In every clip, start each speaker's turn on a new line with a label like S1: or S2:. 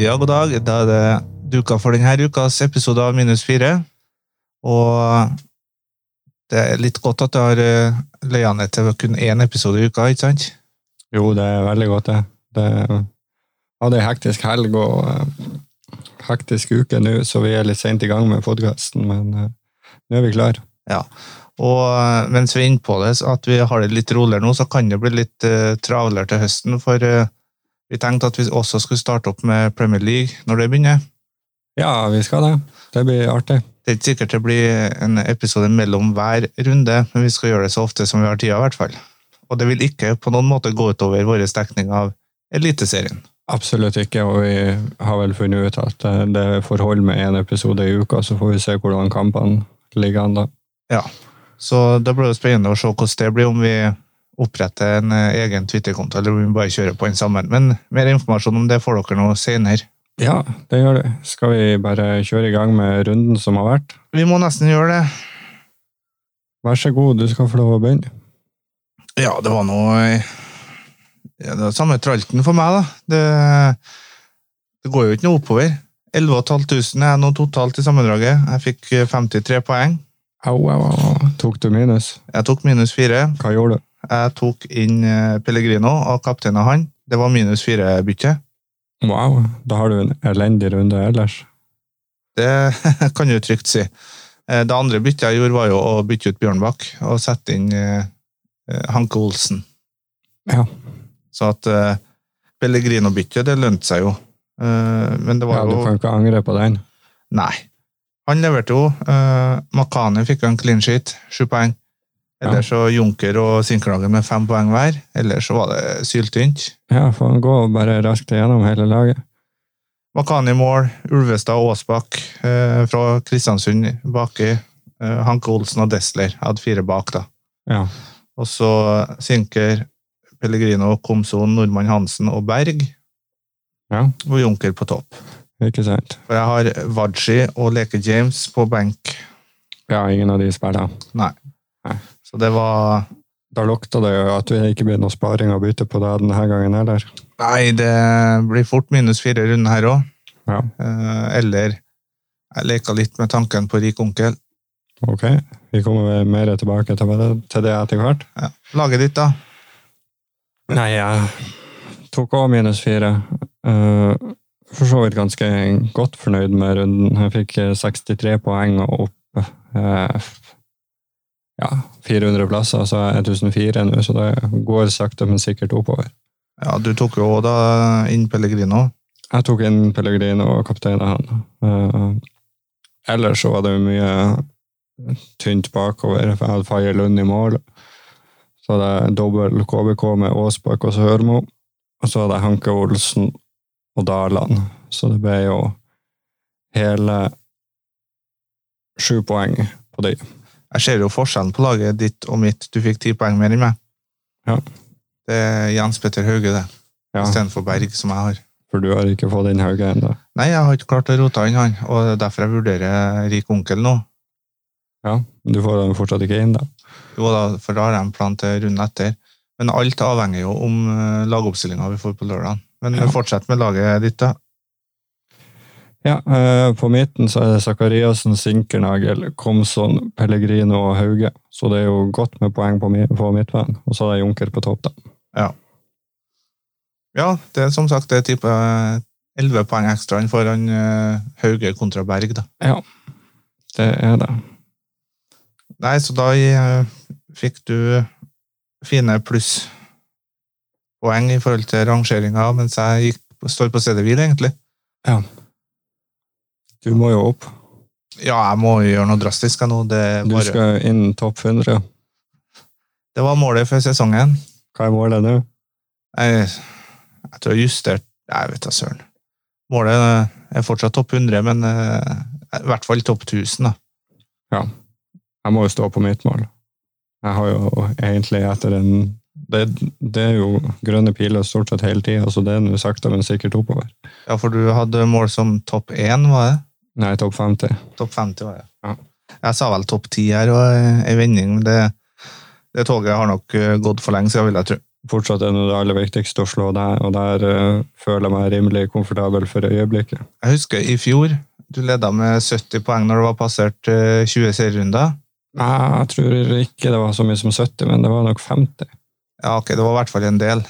S1: Ja, god dag. Da er det duka for denne ukas episode av Minus 4. Og det er litt godt at du har eh, leia ned til kun én episode i uka, ikke sant?
S2: Jo, det er veldig godt, det. det hadde ei hektisk helg og eh, hektisk uke nå, så vi er litt seint i gang med podkasten, men eh, nå er vi klare.
S1: Og eh, mens vi er inne på det, så at vi har det litt roligere nå, så kan det bli litt eh, travlere til høsten. For eh, vi tenkte at vi også skulle starte opp med Premier League når det begynner.
S2: Ja, vi skal det. Det blir artig.
S1: Det er ikke sikkert det blir en episode mellom hver runde, men vi skal gjøre det så ofte som vi har tida. i hvert fall. Og det vil ikke på noen måte gå utover vår dekning av Eliteserien.
S2: Absolutt ikke, og vi har vel funnet ut at eh, det får holde med én episode i uka, så får vi se hvordan kampene ligger an da.
S1: Så det blir det spennende å se hvordan det blir, om vi oppretter en eh, egen Twitter-konto, eller om vi bare kjører på den sammen. Men mer informasjon om det får dere nå senere.
S2: Ja, det gjør det. Skal vi bare kjøre i gang med runden som har vært?
S1: Vi må nesten gjøre det.
S2: Vær så god, du skal få lov å begynne.
S1: Ja, det var noe ja, Det var samme tralten for meg, da. Det, det går jo ikke noe oppover. 11.500 er nå totalt i sammendraget. Jeg fikk eh, 53 poeng.
S2: Au, au, au. Tok du minus?
S1: Jeg tok minus 4.
S2: Hva gjorde du?
S1: Jeg tok inn eh, Pellegrino og kapteinen han. Det var minus 4-bytte.
S2: Wow, da har du en elendig runde ellers.
S1: Det kan du trygt si. Eh, Det andre byttet jeg gjorde, var jo å bytte ut Bjørnbakk og sette inn eh, eh, Hanke Olsen.
S2: Ja.
S1: Så at eh, Pellegrino-byttet, det lønte seg jo. Eh, Men det
S2: Ja,
S1: var
S2: du
S1: jo
S2: kan ikke angre på den.
S1: Nei. Han leverte jo. Eh, Makane fikk jo en clean sheet, sju poeng. Ellers så Junker og Sinkernagel med fem poeng hver. Ellers så var det syltynt.
S2: Ja, får han gå bare raskt igjennom hele laget.
S1: Makani mål, Ulvestad og Aasbakk eh, fra Kristiansund baki. Eh, Hanke Olsen og Desler Jeg hadde fire bak, da.
S2: Ja.
S1: Og så Sinker, Pellegrino, Komson, Nordmann Hansen og Berg.
S2: Ja.
S1: Og Junker på topp.
S2: Ikke sant?
S1: For jeg har Wadji og Leke James på benk.
S2: Ja, ingen av de spiller.
S1: Så det var
S2: Da lukter det jo at vi ikke blir noe sparing å bytte på det denne gangen heller.
S1: Nei, det blir fort minus fire runder her òg.
S2: Ja.
S1: Eller jeg leka litt med tanken på rik onkel.
S2: Ok, vi kommer vel mer tilbake til det, til det etter hvert.
S1: Laget ditt, da?
S2: Nei, jeg tok også minus fire. Eh, for så vidt ganske godt fornøyd med runden. Jeg fikk eh, 63 poeng og opp eh, f- ja, 400 plasser, så jeg er 1004 nå, så det går sakte, men sikkert oppover.
S1: Ja, Du tok jo også da inn Pellegrino.
S2: Jeg tok inn Pellegrino og kapteinen han. Eh, ellers så var det jo mye eh, tynt bakover. for Jeg hadde Faye Lund i mål. Så hadde jeg dobbel KBK med Aasbakk og Sørmo. Og så hadde jeg Hanke Olsen og Daland. Så det ble jo hele sju poeng på de.
S1: Jeg ser jo forskjellen på laget ditt og mitt. Du fikk ti poeng mer enn meg.
S2: Ja.
S1: Det er Jens Petter Hauge, det.
S2: Ja,
S1: Istedenfor Berg, som jeg har.
S2: for du har ikke fått inn Hauge ennå.
S1: Nei, jeg har ikke klart å rote inn han, og det er derfor jeg vurderer rik onkel nå.
S2: Ja, du får den fortsatt ikke inn, da.
S1: Jo da, for da har jeg en plan til runden etter. Men alt avhenger jo om lagoppstillinga vi får på lørdag. Men
S2: Ja.
S1: fortsett med laget ditt, da.
S2: Ja, eh, på midten så er det Zakariassen, Sinkernagel, Komson, Pellegrino og Hauge. Så det er jo godt med poeng på, mi- på midtveien. Og så er det Junker på topp, da.
S1: Ja, det er som sagt det er type eh, elleve poeng ekstra enn foran eh, Hauge kontra Berg, da.
S2: Det er det.
S1: Nei, så da eh, fikk du fine plusspoeng i forhold til rangeringa, mens jeg gikk, står på stedet hvil, egentlig.
S2: Du må jo opp.
S1: Ja, jeg må jo gjøre noe drastisk jeg, nå. Det, er
S2: Du
S1: bare,
S2: skal inn topp 100.
S1: det var målet før sesongen.
S2: Hva er målet nå?
S1: Jeg, jeg tror jeg justerte Nei, vet da søren. Målet eh, er fortsatt topp 100, men eh, i hvert fall topp 1000, da.
S2: Jeg må jo stå på mitt mål. Jeg har jo egentlig etter en Det, det er jo grønne piler stort sett hele tida, så det er nå sakte, men sikkert oppover.
S1: Ja, for du hadde mål som topp 1, var det?
S2: Nei, topp 50.
S1: Topp 50 var det.
S2: Ja.
S1: Jeg sa vel topp 10 her og eh, en vending, men det, det toget har nok eh, gått for lenge siden, vil jeg tro.
S2: Fortsatt er nå det aller viktigste å slå der, og der eh, føler jeg meg rimelig komfortabel for øyeblikket.
S1: Jeg husker i fjor du leda med 70 poeng når det var passert eh, 20 serierunder.
S2: Nei, jeg tror ikke det var så mye som 70, men det var nok 50.
S1: Ja, ok, det var i hvert fall en del.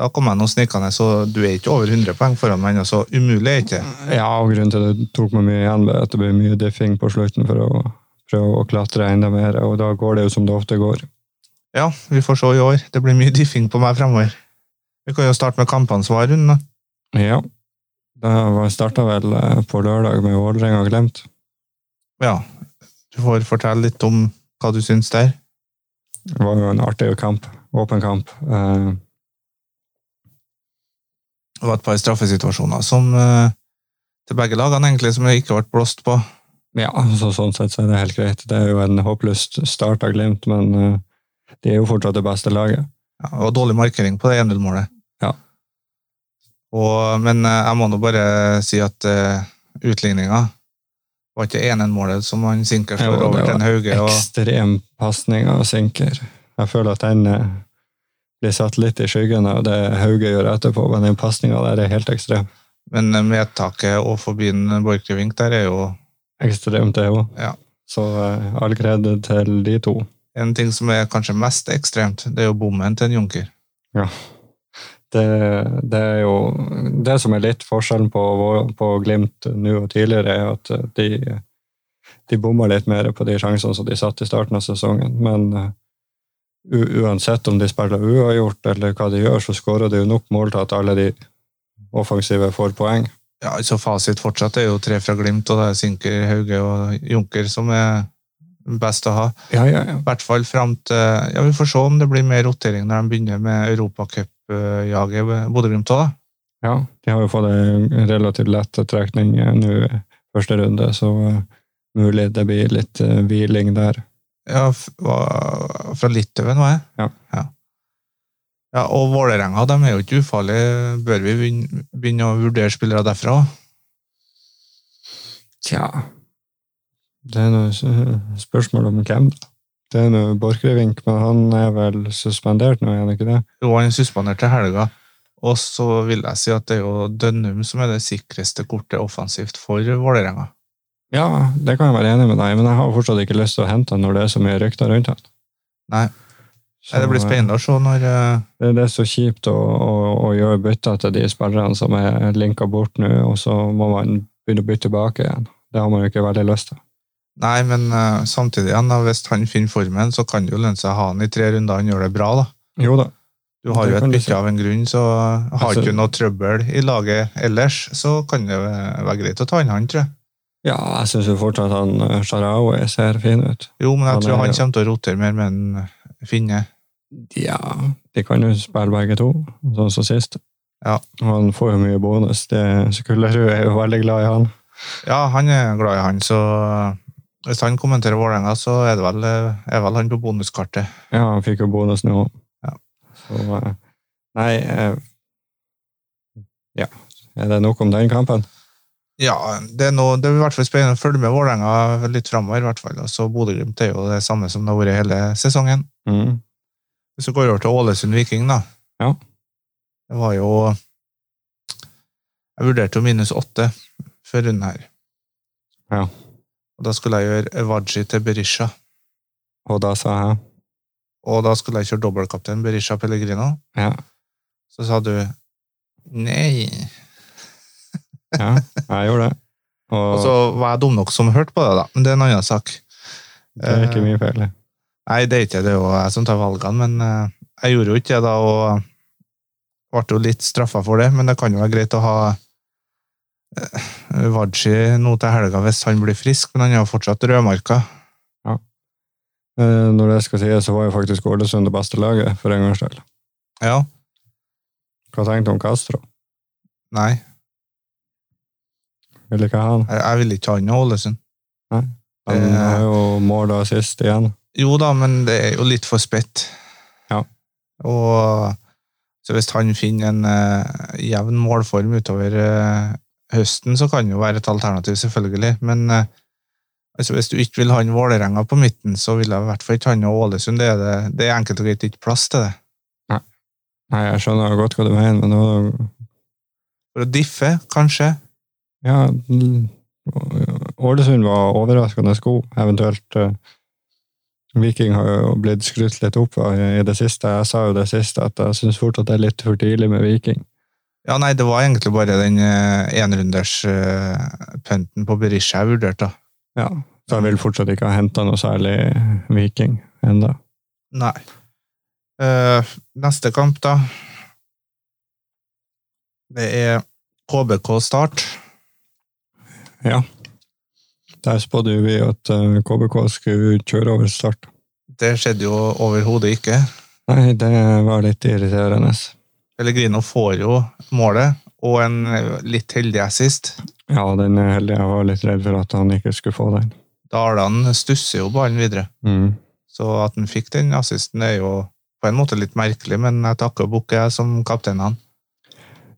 S1: Da kom jeg nå snikende, så du er ikke over 100 poeng foran meg ennå, så umulig er ikke.
S2: Ja, og grunnen til det tok meg mye igjen, var at det ble mye diffing på slutten for å prøve å klatre enda mer, og da går det jo som det ofte går.
S1: Ja, vi får se i år. Det blir mye diffing på meg fremover. Vi kan jo starte med kampene som var i runden, da.
S2: Ja. Da starta vel eh, på lørdag med Vålerenga og Glimt.
S1: Ja, du får fortelle litt om hva du syns der.
S2: Det var jo en artig kamp. Åpen kamp. Eh,
S1: Det var et par straffesituasjoner som eh, til begge lagene egentlig som jeg ikke ble blåst på.
S2: Ja, så sånn sett så er det helt greit. Det er jo en håpløs start av Glimt, men eh, de er jo fortsatt det beste laget.
S1: Ja, det var dårlig markering på det 1-0-målet.
S2: Ja.
S1: Og- Men eh, jeg må nå bare si at uh, utligninga var ikke 1-1-målet som han sinker
S2: Jo,
S1: slår
S2: det
S1: over til
S2: var
S1: en hauge. Og,
S2: Ekstrem pasning av Sinker. Jeg føler at den eh, blir satt litt i skyggen av det Hauge gjør etterpå, men den pasninga der er helt ekstrem.
S1: men eh, medtaket og forbi en Borchgrevink der er jo
S2: Ekstremt, det òg.
S1: Ja.
S2: Så eh, all kred til de to.
S1: en ting som er kanskje mest ekstremt. Det er jo bommen til en Junker.
S2: det, det er jo Det som er litt forskjellen på, vår- på Glimt nå og tidligere, er at eh, de, de bommer litt mer på de sjansene som de satt i starten av sesongen. Men eh, u, uansett om de spiller uavgjort eller hva de gjør, så skårer de jo nok mål til at alle de offensive får poeng.
S1: Ja, altså Fasit fortsatt er jo tre fra Glimt, og det er Sinker, Hauge og Junker som er best å ha.
S2: Ja, ja, ja.
S1: I hvert fall fram til Ja, vi får se om det blir mer rotering når de begynner med europacupjaget ved Bodø-Glimt òg.
S2: Ja, de har jo fått en relativt lett trekning eh, nå i første runde, så eh, mulig det blir litt eh, hviling der.
S1: Ja, f- var- fra Litauen, var jeg?
S2: Ja.
S1: ja. Ja, Og Vålerenga de er jo ikke ufarlige. Bør vi begyn- begynne å vurdere spillere derfra òg?
S2: Tja Det er noe s- spørsmål om hvem, da. Det er noe Borchgrevink, men han er vel suspendert nå, er han ikke det?
S1: Jo, han er suspendert til helga. Og så vil jeg si at det er jo Dønnum som er det sikreste kortet offensivt for Vålerenga.
S2: Ja, det kan jeg være enig med deg i, men jeg har fortsatt ikke lyst til å hente han når det er så mye rykter rundt han.
S1: Nei.
S2: Så,
S1: Nei, Det blir spennende å se når eh,
S2: eh, Det, det er så kjipt å, å, å gjøre bytter til de spillerne som er linka bort nå, og så må man begynne å bytte tilbake igjen. Det har man jo ikke veldig lyst til.
S1: Nei, men eh, samtidig igjen, da, hvis han finner formen, så kan det jo lønne seg å ha han i tre runder. Han gjør det bra, da.
S2: Jo da.
S1: Du har
S2: Det
S1: jo et
S2: kan du si.
S1: bytte av en grunn, så har
S2: Altså-
S1: du ikke noe trøbbel i laget ellers, så kan det være greit å ta inn han, tror jeg.
S2: Ja, jeg syns jo fortsatt han eh, Sharawi ser fin ut.
S1: Jo, men jeg
S2: Han er-
S1: tror han kommer til å rotere mer med en finne.
S2: Ja, de kan jo spille begge to, sånn som sist.
S1: Ja.
S2: Og han får jo mye bonus. Det Skullerud er jo veldig glad i han.
S1: Ja, han er glad i han, så hvis han kommenterer Vålerenga, så er det vel, er vel han på bonuskartet.
S2: Ja, han fikk jo bonus nå.
S1: Ja.
S2: Så, eh, nei eh, Ja, er det nok om den kampen?
S1: Ja, det er, noe, det er i hvert fall spennende å følge med Vålerenga litt framover, i hvert fall. Og så Bodø-Glimt er jo det samme som det har vært hele sesongen.
S2: Mm.
S1: Hvis vi går over til Ålesund Viking, da.
S2: Ja.
S1: Det var jo Jeg vurderte jo minus åtte før runden her.
S2: Ja.
S1: Og da skulle jeg gjøre Evaji til Berisha.
S2: Og da sa jeg
S1: Og da skulle jeg kjøre dobbeltkaptein Berisha Pellegrino.
S2: Ja.
S1: Så sa du nei.
S2: ja, jeg gjorde det. Og,
S1: Og så var jeg dum nok som hørte på det, da. Men det er en annen sak.
S2: det er
S1: eh,
S2: ikke min feil.
S1: Nei, det er ikke det. Det er jo jeg som tar valgene, men eh, jeg gjorde jo ikke det da, og ble jo litt straffa for det. Men det kan jo være greit å ha eh, Wadji nå til helga hvis han blir frisk, men han er jo fortsatt rødmarka.
S2: Eh, Når det skal sies, så var jo faktisk Ålesund det beste laget, for en gangs skyld.
S1: Ja,
S2: Hva tenkte du om Castro?
S1: nei,
S2: Vil ikke ha han?
S1: jeg, jeg vil ikke ha han i Ålesund.
S2: Han
S1: Eh.
S2: har jo mål og assist igjen.
S1: Jo da, men det er jo litt for spett.
S2: Ja.
S1: Og så hvis han finner en eh, jevn målform utover eh, høsten, så kan det jo være et alternativ, selvfølgelig. Men eh, altså, hvis du ikke vil ha en Vålerenga på midten, så vil jeg i hvert fall ikke ha en Ålesund. Det er, det, det er enkelt og greit ikke plass til det.
S2: Nei. Nei, jeg skjønner godt hva du mener, men det var
S1: For å diffe, kanskje.
S2: Ja, l- Ålesund var overraskende god, eventuelt eh, Viking har jo blitt skrutt litt opp av i det siste. Jeg sa jo det siste at jeg syns fort at det er litt for tidlig med Viking.
S1: Ja, nei, det var egentlig bare den eh, enrunderspønten på Berisha jeg vurderte. da.
S2: Ja, Så jeg vil fortsatt ikke ha henta noe særlig Viking enda.
S1: Nei. Eh, neste kamp, da. Det er KBK Start.
S2: Der spådde jo vi at eh, KBK skulle kjøre over Start.
S1: Det skjedde jo overhodet ikke.
S2: Nei, det var litt irriterende.
S1: Pellegrino får jo målet, og en litt heldig assist.
S2: Ja, den er heldig. Jeg var litt redd for at han ikke skulle få den.
S1: Dalane stusser jo ballen videre.
S2: Mm.
S1: Så at han fikk den assisten, er jo på en måte litt merkelig, men jeg takker Bukke som kaptein han.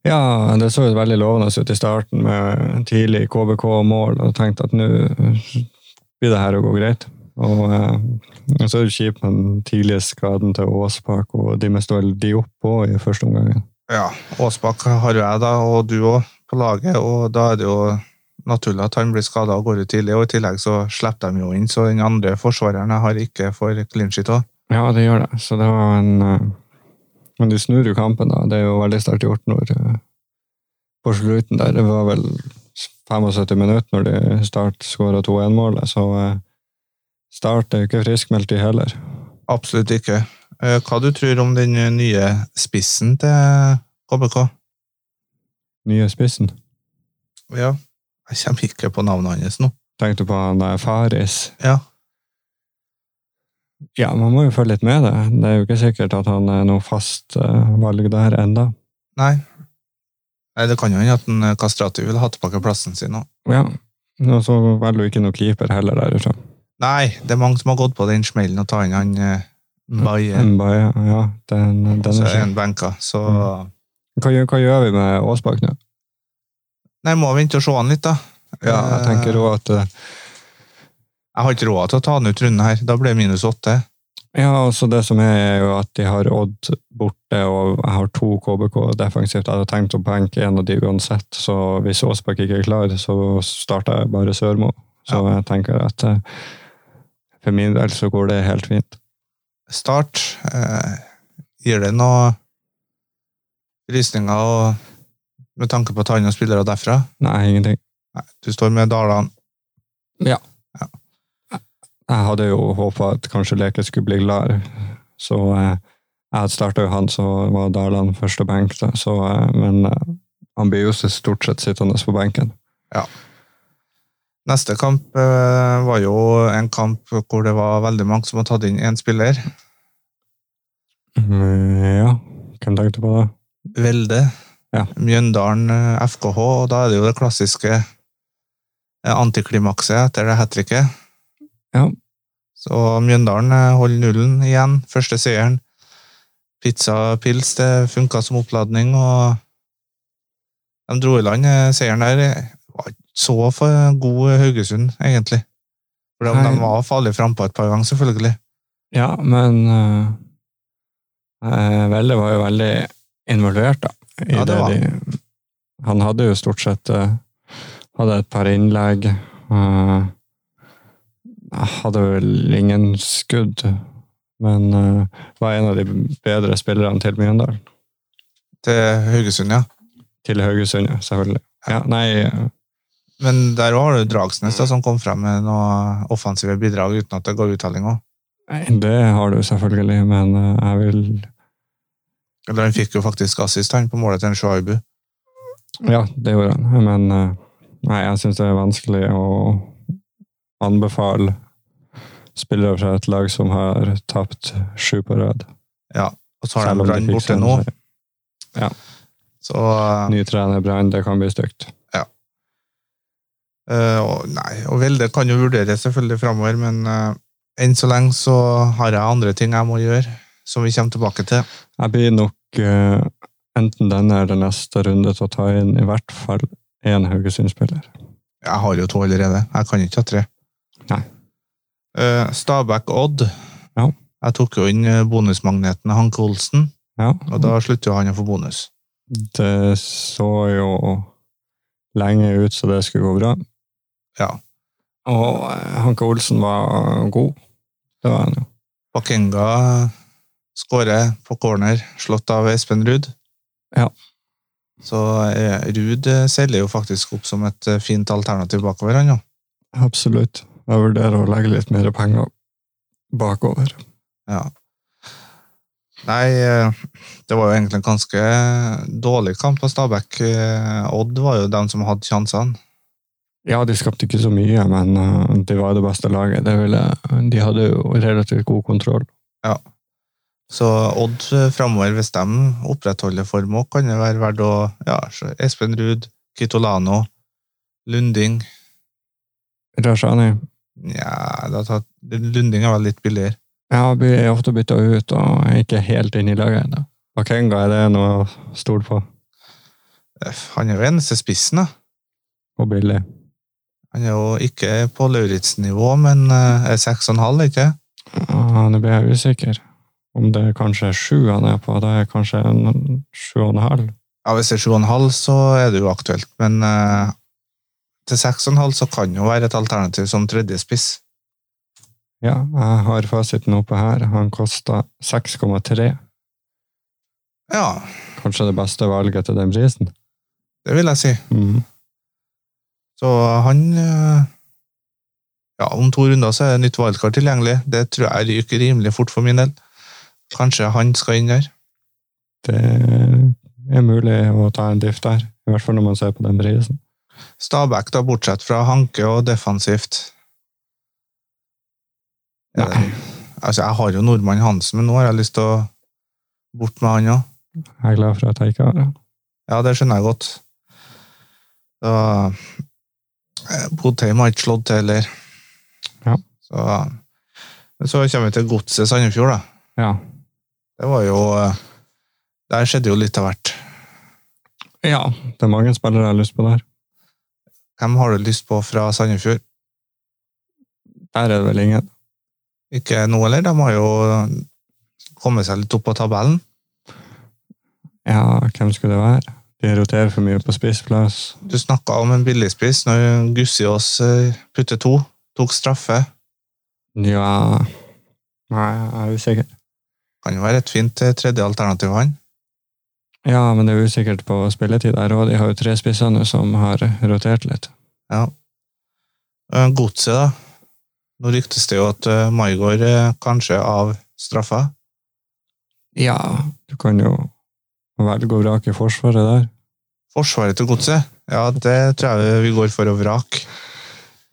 S2: Ja, det så jo veldig lovende ut i starten med tidlig KBK-mål, og tenkte at nå blir det her å gå greit. Og eh, så er det kjipt med den tidlige skaden til Åsbakk, og de med stål de opp òg i første omgang.
S1: Ja, Aasbakk har jo jeg, da, og du òg, på laget, og da er det jo naturlig at han blir skada og går ut tidlig. Og i tillegg så slipper de jo inn, så den andre forsvareren jeg har ikke for clean sheet òg.
S2: Ja, det gjør det. Så det var en eh, Men de snur jo kampen, da. Det er jo veldig sterkt gjort når eh, På slutten der, det var vel 75 minutter når de Start skåra 2-1-målet, så eh, Start er jo ikke friskmeldt, de heller.
S1: Absolutt ikke. Eh, Hva du tror om den nye spissen til KBK?
S2: Nye spissen.
S1: Ja, jeg kommer ikke på navnet hans nå.
S2: Tenkte på han der Faris.
S1: Ja.
S2: Ja, man må jo følge litt med det. Det er jo ikke sikkert at han er noe fast eh, valg der enda.
S1: Nei. Nei, det kan jo hende at en eh, Kastrati vil ha tilbake plassen sin òg.
S2: Ja, og så velger jo ikke noe keeper heller derifra.
S1: Nei, det er mange som har gått på den smellen å ta inn han eh, Baye.
S2: Mbaye, ja, den, den
S1: Så er
S2: er ikke...
S1: han benka, så
S2: Mm. Hva, gjør- hva gjør vi med Åsbakk nå?
S1: Nei, må vente og se han litt, da.
S2: Ja, jeg tenker
S1: Eh,
S2: også at... eh,
S1: jeg har ikke råd til å ta han ut runden her. Da blir det minus åtte.
S2: Ja, altså det som er, er jo at de har Odd borte, og jeg har to KBK defensivt. Jeg hadde tenkt å benke en av de uansett, så hvis Åsbakk ikke er klar, så starter jeg bare Sørmo. Så jeg tenker at eh, for min del så går det helt fint.
S1: Start. Eh, gir det noe rysninger og med tanke på å ta inn noen spillere derfra?
S2: Nei, ingenting.
S1: Nei, du står med Dalan.
S2: Jeg hadde jo håpa at kanskje Leke skulle bli klar, så eh, jeg hadde starta jo han, så var Darland første benk, da. så, eh, men eh, han blir jo stort sett sittende på benken.
S1: Neste kamp eh, var jo en kamp hvor det var veldig mange som hadde tatt inn én spiller.
S2: Mm, ja, hvem tenkte på det?
S1: Velde,
S2: Ja.
S1: Mjøndalen eh, FKH, og da er det jo det klassiske eh, antiklimakset etter det hat tricket.
S2: Ja.
S1: Så Mjøndalen eh, holder nullen igjen, første seieren. Pizza pils, det funka som oppladning, og de dro i land eh, seieren der. eh, Var ikke så for god Haugesund, egentlig. For de,
S2: Nei.
S1: de var farlig frampå et par ganger, selvfølgelig.
S2: Ja, men uh, Velle var jo veldig involvert, da. i
S1: Ja, det var
S2: de- han hadde jo stort sett eh, Hadde et par innlegg. eh, hadde vel ingen skudd, men eh, var en av de bedre spillerne til Mjøndalen.
S1: Til Haugesund, ja.
S2: Til Haugesund, ja, selvfølgelig. Ja, nei, eh,
S1: Men der var det jo Dragsnes da, som kom frem med noen offensive bidrag uten at det går uttelling òg.
S2: nei, eh, det har du selvfølgelig, men eh, jeg vil
S1: Eller han fikk jo faktisk assist han på målet til en Shoaibu.
S2: Ja, det gjorde han. Men eh, nei, jeg syns det er vanskelig å anbefale spillere fra et lag som har tapt sju på rad.
S1: Og så har de
S2: Selv om
S1: Brann
S2: fikk sånn
S1: borte
S2: seg en
S1: nå,
S2: seier.
S1: så
S2: Ny trener Brann, det kan bli stygt.
S1: eh, og, Nei, og Velde kan jo vurdere selvfølgelig framover, men eh, enn så lenge så har jeg andre ting jeg må gjøre, som vi kommer tilbake til.
S2: Jeg blir nok eh, enten denne eller neste runde til å ta inn i hvert fall én Haugesund-spiller.
S1: Jeg har jo to allerede. Jeg kan ikke ha tre.
S2: Nei.
S1: Eh, Stabæk Odd.
S2: Ja.
S1: Jeg tok jo inn eh, bonusmagneten Hanke Olsen.
S2: Ja.
S1: Og da slutter jo han å få bonus.
S2: Det så jo lenge ut så det skulle gå bra.
S1: Ja.
S2: Og eh, Hanke Olsen var god. Det var han jo.
S1: Bakenga skårer på corner, slått av Espen Ruud.
S2: Ja.
S1: Så eh, Ruud eh, seiler jo faktisk opp som et eh, fint alternativ bakover, han jo.
S2: Absolutt. Jeg vurderer å legge litt mer penger bakover.
S1: Ja. Nei, eh, det var jo egentlig en ganske dårlig kamp av Stabæk. Eh, Odd var jo dem som hadde sjansene.
S2: Ja, de skapte ikke så mye, men eh, de var det beste laget. Det ville, de hadde jo relativt god kontroll.
S1: Så Odd eh, framover, hvis de opprettholder form òg, kan det være verdt å ja, så Espen Ruud, Kitolano, Lunding
S2: Rashani
S1: Nja, det har tatt- Lunding er vel litt billigere.
S2: ja, blir ofte bytta ut og er ikke helt inne i laget ennå. Bakenga er det noe å stole på,
S1: Øff, Han er jo eneste spissen, da.
S2: og billig.
S1: Han er jo ikke på Lauritzen-nivå, men eh, er seks og en halv, ikke
S2: Ja, Nå blir jeg usikker. Om det er kanskje er sju han er på, det er kanskje en sju og en halv.
S1: Ja, Hvis det er sju og en halv, så er det jo aktuelt, men eh, til seks og en halv så kan jo være et alternativ som tredjespiss.
S2: Ja, jeg har fasiten oppe her. Han kosta 6,3.
S1: Ja,
S2: Kanskje det beste valget til den prisen.
S1: det vil jeg si.
S2: Mhm.
S1: Så han eh, Ja, om to runder så er det nytt wildcard tilgjengelig. Det tror jeg ryker rimelig fort for min del. Kanskje han skal inn der.
S2: Det er mulig å ta en diff der, i hvert fall når man ser på den prisen.
S1: Stabæk, da, bortsett fra Hanke og defensivt. Er det- Altså, jeg har jo nordmann Hansen, men nå har jeg lyst til å bort med han òg.
S2: Jeg er glad for at jeg ikke har den.
S1: Ja, det skjønner jeg godt. Da eh, Botheim har ikke slått til heller.
S2: Ja.
S1: Så, men så kommer vi til Godset Sandefjord, da.
S2: Ja.
S1: Det var jo eh, Der skjedde jo litt av hvert.
S2: ja, det er mange spillere jeg har lyst på der.
S1: Hvem har du lyst på fra Sandefjord?
S2: Der er det vel ingen.
S1: Ikke nå, eller? De har jo kommet seg litt opp på tabellen.
S2: Ja, hvem skulle det være? De roterer for mye på spissplass.
S1: Du snakka om en billigspiss når Gussiås eh, putter to. Tok straffe.
S2: Ja Nei, jeg er usikker.
S1: Kan jo være et fint eh, tredje alternativ, han.
S2: Ja, men det er usikkert på spilletid der òg. De har jo tre spisser nå som har rotert litt.
S1: Eh, Godset, da. Nå ryktes det jo at eh, Maigård eh, kanskje er av straffa.
S2: Ja, du kan jo velge og vrake i forsvaret der.
S1: Forsvaret til Godset? Ja, det tror jeg vi går for å vrake.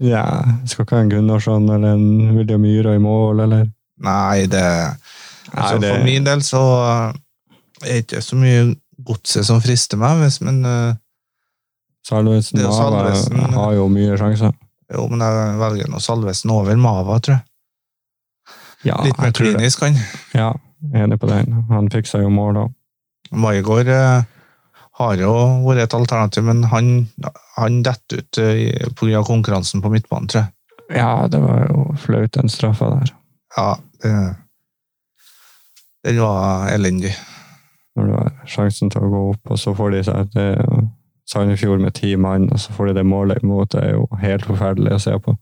S2: Ja, skal ikke ha en Gunnarsson eller en William Myhra i mål, eller
S1: Nei, det altså,
S2: Nei, det-
S1: For min del så eh, er det ikke så mye Godset som frister meg, hvis, men eh,
S2: Salvesen
S1: Det er jo
S2: Mava
S1: Salvesen.
S2: har jo mye sjanser.
S1: jo, men jeg velger nå Salvesen over Mava, tror jeg.
S2: Ja,
S1: Litt mer
S2: jeg tror det.
S1: klinisk, han.
S2: Ja, enig på den. Han fiksa jo mål òg.
S1: Maigård eh, har jo vært et alternativ, men han, han detter ut eh, pga. konkurransen på midtbanen, tror jeg.
S2: Ja, det var jo flaut, den straffa der.
S1: Ja, det- den var elendig.
S2: Når du har sjansen til å gå opp, og så får de seg det er jo Sandefjord med ti mann, og så får de det målet imot. Det er jo helt forferdelig å se på.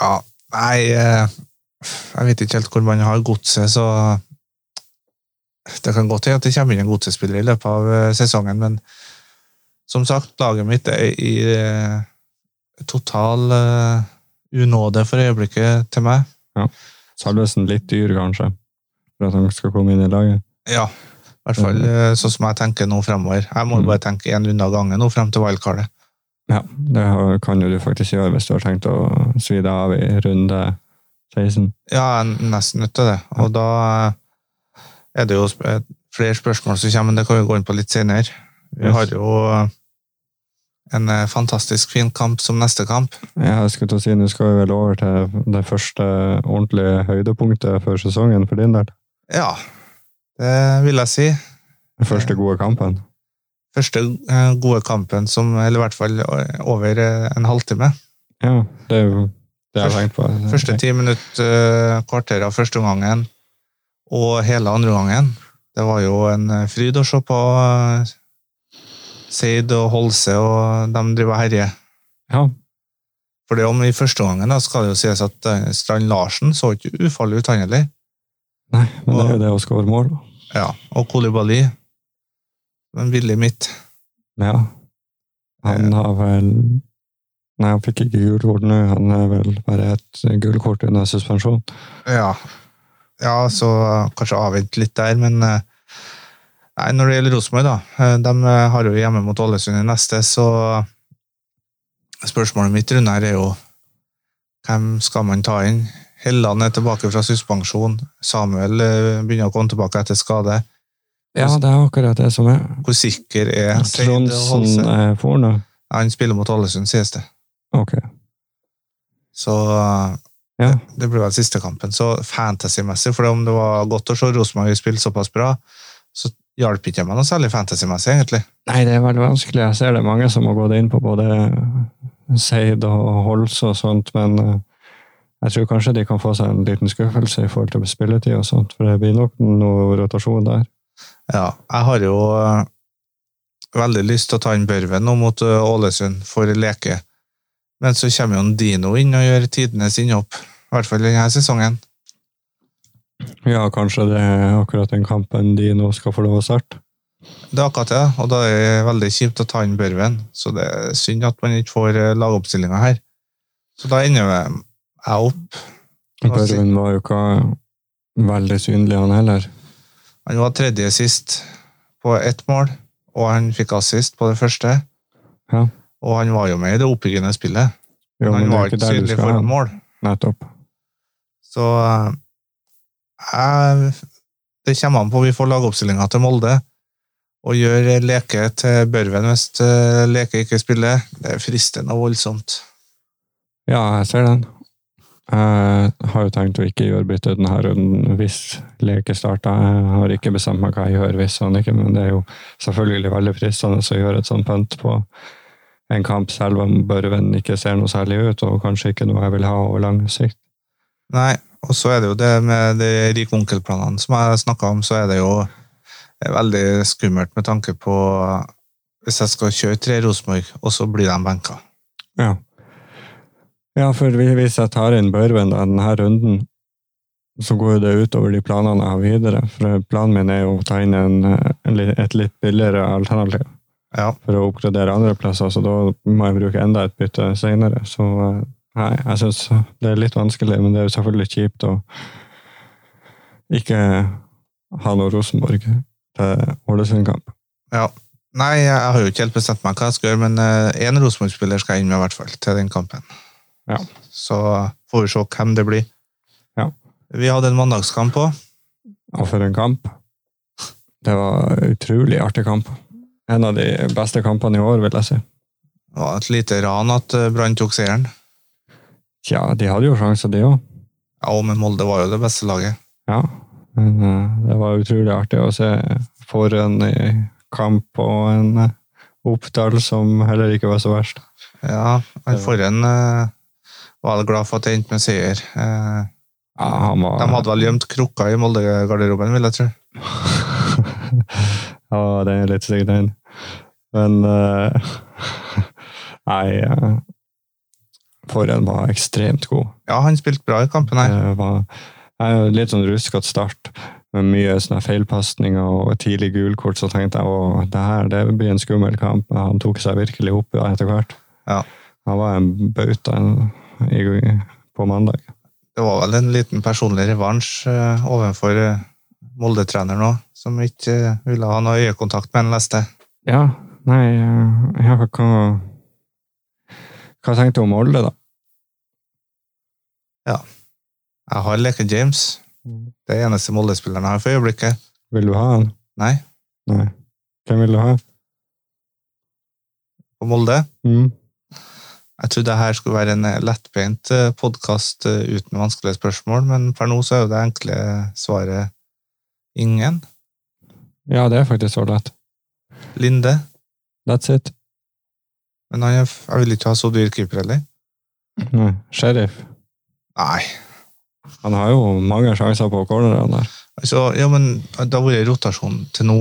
S1: Ja, nei eh, Jeg vet ikke helt hvor man har godset, så Det kan godt hende at det kommer inn en godsespiller i løpet av eh, sesongen, men som sagt, laget mitt er i eh, total eh, unåde for øyeblikket til meg.
S2: Salvesen litt dyr, kanskje, for at han skal komme inn i laget.
S1: Ja, i hvert fall eh, sånn som jeg tenker nå fremover. Jeg må
S2: Mm.
S1: bare tenke én runde av gangen nå frem til wildcardet.
S2: Ja, det har- kan jo du faktisk gjøre hvis du har tenkt å svi deg av i runde 16.
S1: Ja, jeg er nesten nødt til det. Og da er det jo sp- eh, flere spørsmål som kommer, men det kan vi gå inn på litt senere. Vi
S2: Yes.
S1: har jo eh, en eh, fantastisk fin kamp som neste kamp.
S2: Ja, Jeg skulle til å si, Nå skal vi vel over til det første ordentlige høydepunktet for sesongen for din del.
S1: Ja, det vil jeg si.
S2: Den første gode kampen.
S1: Første eh, gode kampen som Eller i hvert fall eh, over eh, en halvtime.
S2: Ja, det er jo det jeg har tenkt på.
S1: Første ti minutter, eh, kvarter av første omgangen. Og hele andre gangen. Det var jo en eh, fryd å se på eh, Seid og Holse og de driver og herjer.
S2: Ja.
S1: For det om i første gangen da, skal det jo sies at eh, Strand Larsen så ikke ufarlig ut, han heller.
S2: Nei, men det er jo det å skåre mål. da.
S1: Ja, og Kolibali. Men villig mitt.
S2: Ja. Han har vel Nei, han fikk ikke gult kort nå. Han er vel bare et gult kort under suspensjon.
S1: Ja. ja, så eh, kanskje avvente litt der, men eh, nei, når det gjelder Rosenborg, da. eh, De eh, har jo hjemme mot Ålesund i neste, så eh, spørsmålet mitt rundt her er jo hvem skal man ta inn? Helland er tilbake fra suspensjon. Samuel eh, begynner å komme tilbake etter skade.
S2: Ja, det er akkurat det som er.
S1: Hvor sikker er Seid og
S2: Trondsen
S1: Holse?
S2: er for nå.
S1: Han spiller mot Ålesund, sies det.
S2: Ok.
S1: Så eh,
S2: Ja.
S1: det blir vel siste kampen. Så fantasymessig, for om det var godt å se Rosenborg spille såpass bra, så hjalp ikke jeg meg noe særlig fantasymessig, egentlig.
S2: Nei, det er veldig vanskelig. Jeg ser det er mange som har gått inn på både eh, Seid og Holz og sånt, men eh, jeg tror kanskje de kan få seg en liten skuffelse i forhold til spilletid og sånt, for det blir nok noe rotasjon der.
S1: Ja, jeg har jo eh, veldig lyst til å ta inn Børven nå mot eh, Ålesund for leke, men så kommer jo en Dino inn og gjør tidenes innhopp, i hvert fall denne sesongen.
S2: Ja, kanskje det er akkurat den kampen de nå skal få lov å starte.
S1: Det er akkurat det, og da er det veldig kjipt å ta inn Børven, så det er synd at man ikke får eh, lagoppstillinga her. Så da ender jeg opp Hva sier-
S2: Børven var jo ikke veldig synlig, han heller.
S1: Han var tredje sist på ett mål, og han fikk assist på det første.
S2: Ja.
S1: Og han var jo med i det oppbyggende spillet.
S2: Jo,
S1: han
S2: men det
S1: var
S2: er
S1: ikke
S2: ikke der du
S1: synlig
S2: skal
S1: foran
S2: hen.
S1: mål.
S2: Nettopp.
S1: Så eh, jeg, det kommer an på. Vi får lagoppstillinga til Molde. Og gjør Leke til Børven hvis eh, Leke ikke spiller. Det er fristende og voldsomt.
S2: Ja, jeg ser den. Jeg har jo tenkt å ikke gjøre bytte denne runden hvis leke starter. Jeg har ikke bestemt meg hva jeg gjør hvis han ikke, men det er jo selvfølgelig veldig fristende å gjøre et sånt pønt på en kamp, selv om Børven ikke ser noe særlig ut, og kanskje ikke noe jeg vil ha over lang sikt.
S1: Nei, og så er det jo det med de rike onkelplanene som jeg snakka om, så er det jo eh, veldig skummelt med tanke på eh, hvis jeg skal kjøre tre Rosenborg, og så blir de benka.
S2: Ja. ja, for vi- hvis jeg tar inn Børven da, denne runden, så går jo det utover de planene jeg har videre. For planen min er jo å ta inn en, eh, li- et litt billigere alternativ.
S1: Ja,
S2: for å oppgradere andre plasser, så da må jeg bruke enda et bytte senere. Så eh, nei, jeg syns det er litt vanskelig, men det er jo selvfølgelig kjipt å ikke ha noe Rosenborg til Ålesund-kamp.
S1: ja. Nei, jeg har jo ikke helt bestemt meg hva jeg skal gjøre, men én Rosenborg-spiller skal jeg inn med, i hvert fall, til den kampen.
S2: Ja.
S1: Så får vi se hvem det blir.
S2: Ja.
S1: Vi hadde en mandagskamp òg.
S2: Og for en kamp! Det var en utrolig artig kamp. En av de beste kampene i år, vil jeg si.
S1: Det var et lite ran at eh, Brann tok seieren.
S2: Tja, de hadde jo sjanser, de òg.
S1: Ja, men Molde var jo det beste laget.
S2: Ja, men eh, det var utrolig artig å se for en eh, kamp og en eh, Oppdal som heller ikke var så verst.
S1: Ja,
S2: Det var-
S1: han forrige eh, var vel glad for at det endte med seier. Eh,
S2: Ja, han var...
S1: de hadde vel gjemt krukka i Molde-garderoben, vil jeg tro.
S2: ja, det er litt stygg, den. Men eh, Nei, eh, forhen var ekstremt god.
S1: Ja, han spilte bra i kampen her.
S2: Det var jeg er jo litt sånn ruskete start, med mye sånne feilpasninger og tidlig gulkort, så tenkte jeg at det her det blir en skummel kamp. Men han tok seg virkelig opp ja, etter hvert.
S1: Ja.
S2: Han var en bauta i- på mandag.
S1: Det var vel en liten personlig revansj eh, overfor eh, Molde-treneren òg, som ikke eh, ville ha noe øyekontakt med en leste.
S2: Ja, nei eh, ja, hva, hva tenkte du om Molde, da?
S1: Jeg har Leke James.
S2: Mm.
S1: Det er eneste Molde-spilleren jeg har for øyeblikket.
S2: Vil du ha han?
S1: Nei,
S2: Nei. Hvem vil du ha?
S1: på Molde.
S2: Mm.
S1: Jeg trodde dette skulle være en eh, lettbeint podkast uten vanskelige spørsmål, men per nå så er jo det enkle svaret ingen.
S2: Ja, det er faktisk så lett.
S1: Linde.
S2: That's it.
S1: Men han, er- jeg vil ikke ha så dyr keeper heller.
S2: Nei. Sheriff.
S1: Nei.
S2: Han har jo mange sjanser på corneren der.
S1: Altså, ja, men det har vært rotasjon til nå.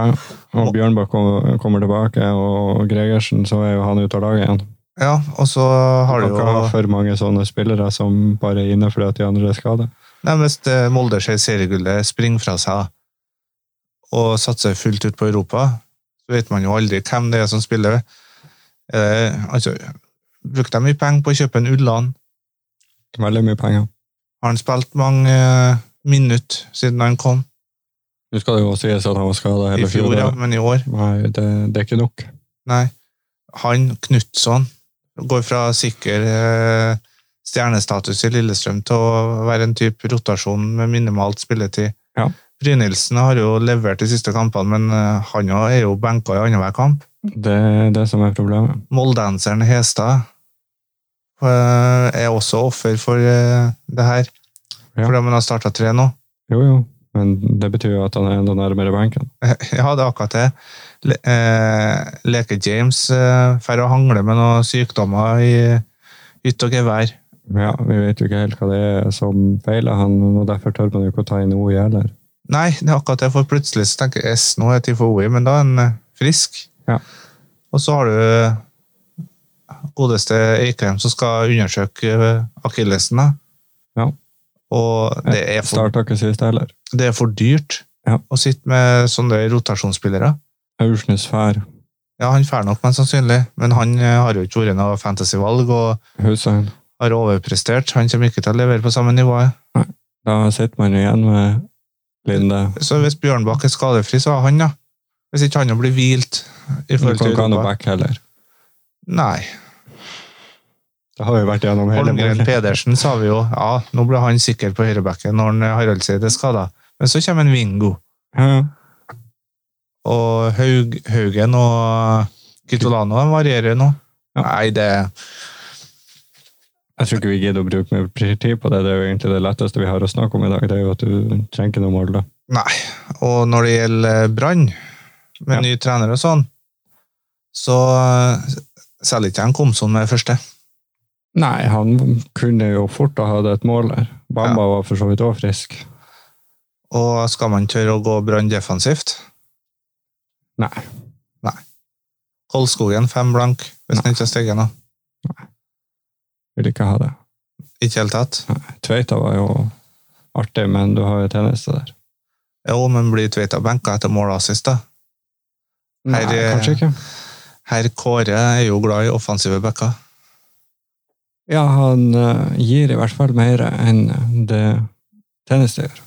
S2: Og Bjørnbakk kom- kommer tilbake, og Gregersen, så er jo han ute av laget igjen.
S1: Ja, og så har
S2: Kan
S1: det jo
S2: ikke ha for mange sånne spillere som bare er inne fordi at de andre er skadet.
S1: Nei, hvis eh, Molde ser seriegullet springe fra seg og satser fullt ut på Europa, så vet man jo aldri hvem det er som spiller. Eh, altså, brukte de mye penger på å kjøpe en Ulland?
S2: Veldig mye penger.
S1: Har han spilt mange eh, minutter siden han kom?
S2: Nå skal det jo sies at han var
S1: I
S2: skadet hele
S1: fjor, ja,
S2: fjoråret.
S1: men i år?
S2: Nei, det, det er ikke nok.
S1: Nei. Han, Knutson, går fra sikker eh, stjernestatus i Lillestrøm til å være en type rotasjon med minimalt spilletid.
S2: Ja.
S1: Brynildsen har jo levert de siste kampene, men eh, han jo er jo benka i annenhver kamp.
S2: Det er det som er problemet.
S1: Moldenseren Hestad eh, er også offer for eh, det her,
S2: Ja.
S1: fordi man har starta tre nå.
S2: Jo, jo. Men det betyr jo at han er enda nærmere benken.
S1: Ja, det er akkurat det. Le eh, Leke-James eh, får å hangle med noen sykdommer i ytt og gevær.
S2: Ja, vi vet jo ikke helt hva det er som feiler han, og derfor tør man jo ikke å ta inn OI heller.
S1: Nei, det er akkurat det, for plutselig så tenker jeg S, nå er tid for OI, men da er han eh, frisk.
S2: Ja.
S1: Og så har du eh, godeste Eikrem som skal undersøke eh, akillesen. da.
S2: Ja.
S1: Og det er for,
S2: Starta ikke sist heller.
S1: det er for dyrt
S2: Ja.
S1: å sitte med sånne rotasjonsspillere.
S2: Aursnes fær.
S1: Ja, han får nok, men sannsynlig. Men han eh, har jo ikke vært noe fantasyvalg og
S2: Hussein.
S1: har overprestert. Han kommer ikke til å levere på samme nivå.
S2: Da sitter man igjen med Linde.
S1: Så hvis Bjørnbakk er skadefri, så er han, da. Hvis ikke han blir hvilt i
S2: Du kan
S1: forhold til
S2: ikke ha noe
S1: Europa.
S2: back heller.
S1: Nei.
S2: Det har vi vært gjennom hele
S1: Holmgren
S2: målet.
S1: Pedersen sa vi jo ja, nå ble han sikker på høyrebacken når han Haraldseid er skada. Men så kommer en Vingo.
S2: Ja, ja.
S1: Og Haug, Haugen og Kitolano de varierer nå.
S2: Ja.
S1: Nei, det
S2: Jeg tror ikke vi gidder å bruke mye tid på det. Det er jo egentlig det letteste vi har å snakke om i dag. Det er jo at du trenger ikke noe mål, da.
S1: Nei. Og når det gjelder eh, Brann, med
S2: Ja.
S1: ny trener og sånn, så eh, selger ikke han Komson med første.
S2: Nei, han kunne jo fort ha hatt et mål der. Bamba var for så vidt òg frisk.
S1: Og skal man tørre å gå Brann defensivt?
S2: Nei.
S1: Koldskogen fem blank, hvis han ikke har steget nå.
S2: Vil ikke ha det.
S1: Ikke helt tatt.
S2: Tveita var jo artig, men du har jo tjeneste der.
S1: Jo, men blir Tveita benka etter mål og assist, da?
S2: Nei,
S1: Her, eh,
S2: kanskje ikke.
S1: Herr Kåre er jo glad i offensive backer.
S2: Ja, han eh, gir i hvert fall mer enn det tjeneste gjør.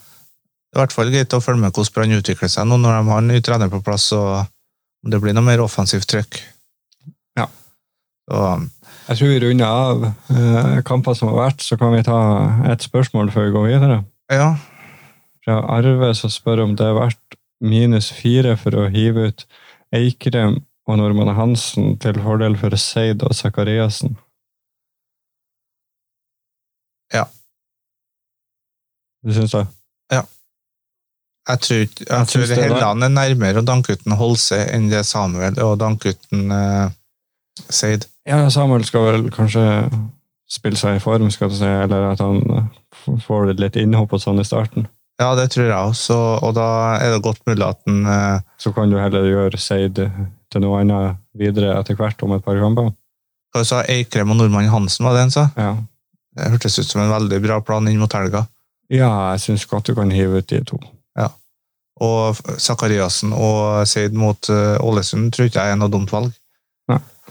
S1: Det er i hvert fall greit å følge med hvordan Brann utvikler seg nå når de har en ny trener på plass, og om det blir noe mer offensivt trykk.
S2: Ja.
S1: Så,
S2: Jeg tror vi runder av eh, kamper som har vært, så kan vi ta et spørsmål før vi går videre.
S1: ja.
S2: fra Arve som spør om det er verdt minus fire for å hive ut Eikrem og Normann Hansen til fordel for Seid og Sakariassen.
S1: Ja.
S2: Du syns det?
S1: Jeg tror, ikke- jeg
S2: Jeg synes
S1: tror
S2: det er
S1: Helland er nærmere å danke uten Holse enn det Samuel og danke uten eh, Seid.
S2: Ja, Samuel skal vel kanskje spille seg i form, skal du si, eller at han eh, f- får litt innhopp og sånn i starten.
S1: Ja, det tror jeg også, og da er det godt mulig at han eh,
S2: Så kan du heller gjøre Seid til noe annet videre etter hvert om et par kamper.
S1: Hva sa Eikrem og Nordmann Hansen, var det han sa?
S2: Ja,
S1: Det hørtes ut som en veldig bra plan inn mot helga.
S2: ja jeg syns godt du kan hive ut de to.
S1: Og Sakariassen og Seid mot eh, Ålesund tror ikke jeg er noe dumt valg.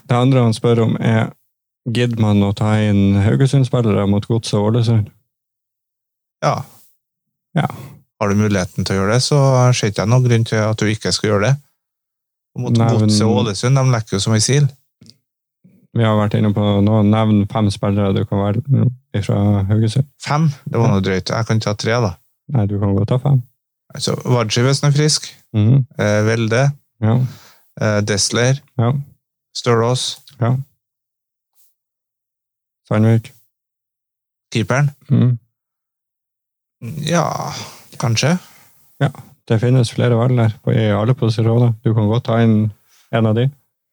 S2: Det andre han spør om, er gidder man å ta inn Haugesund-spillere mot Godset og Ålesund?
S1: Ja.
S2: Ja.
S1: Har du muligheten til å gjøre det, så ser ikke jeg noen grunn til at du ikke skal gjøre det. Og Mot
S2: Nei, men-
S1: Godset og Ålesund, de lekker jo som ei sil.
S2: Vi har vært inne på nå, nevn fem spillere du kan velge fra Haugesund.
S1: Fem, det var noe drøyt. Jeg kan ta tre, da.
S2: Nei, du kan godt ta fem.
S1: Altså, Wadji, hvis han er frisk.
S2: Mhm,
S1: Eh, Velde.
S2: Ja,
S1: Eh, Desler.
S2: ja.
S1: Stølås.
S2: Sandvik.
S1: Keeperen.
S2: Mhm.
S1: Ja, kanskje.
S2: Det finnes flere valg der på, i alle posisjoner. Du kan godt ta inn en av de.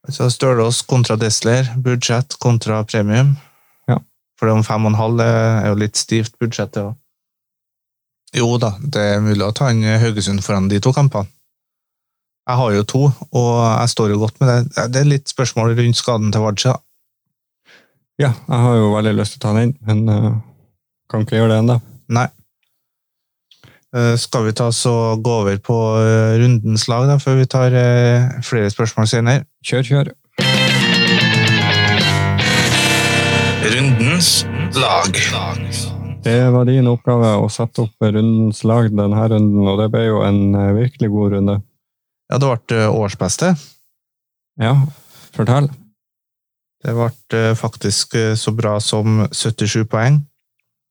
S1: Så Stølås kontra Desler. Budsjett kontra premium.
S2: Ja.
S1: eh, For det om fem og en halv er jo litt stivt budsjett, det òg. Jo da, det er mulig å ta inn Haugesund foran de to kampene. Jeg har jo to, og jeg står jo godt med det. Det er litt spørsmål rundt skaden til Vardø.
S2: Ja, jeg har jo veldig lyst til å ta den inn, men eh, kan ikke gjøre det ennå.
S1: Eh, Skal vi ta så gå over på eh, rundens lag, da, før vi tar eh, flere spørsmål senere?
S2: Kjør, kjør.
S1: Rundens lag.
S2: Det var din oppgave å sette opp rundens lag denne runden, og det ble jo en eh, virkelig god runde.
S1: Ja, det ble eh, årsbeste.
S2: Ja, fortell.
S1: Det ble eh, faktisk eh, så bra som 77 poeng.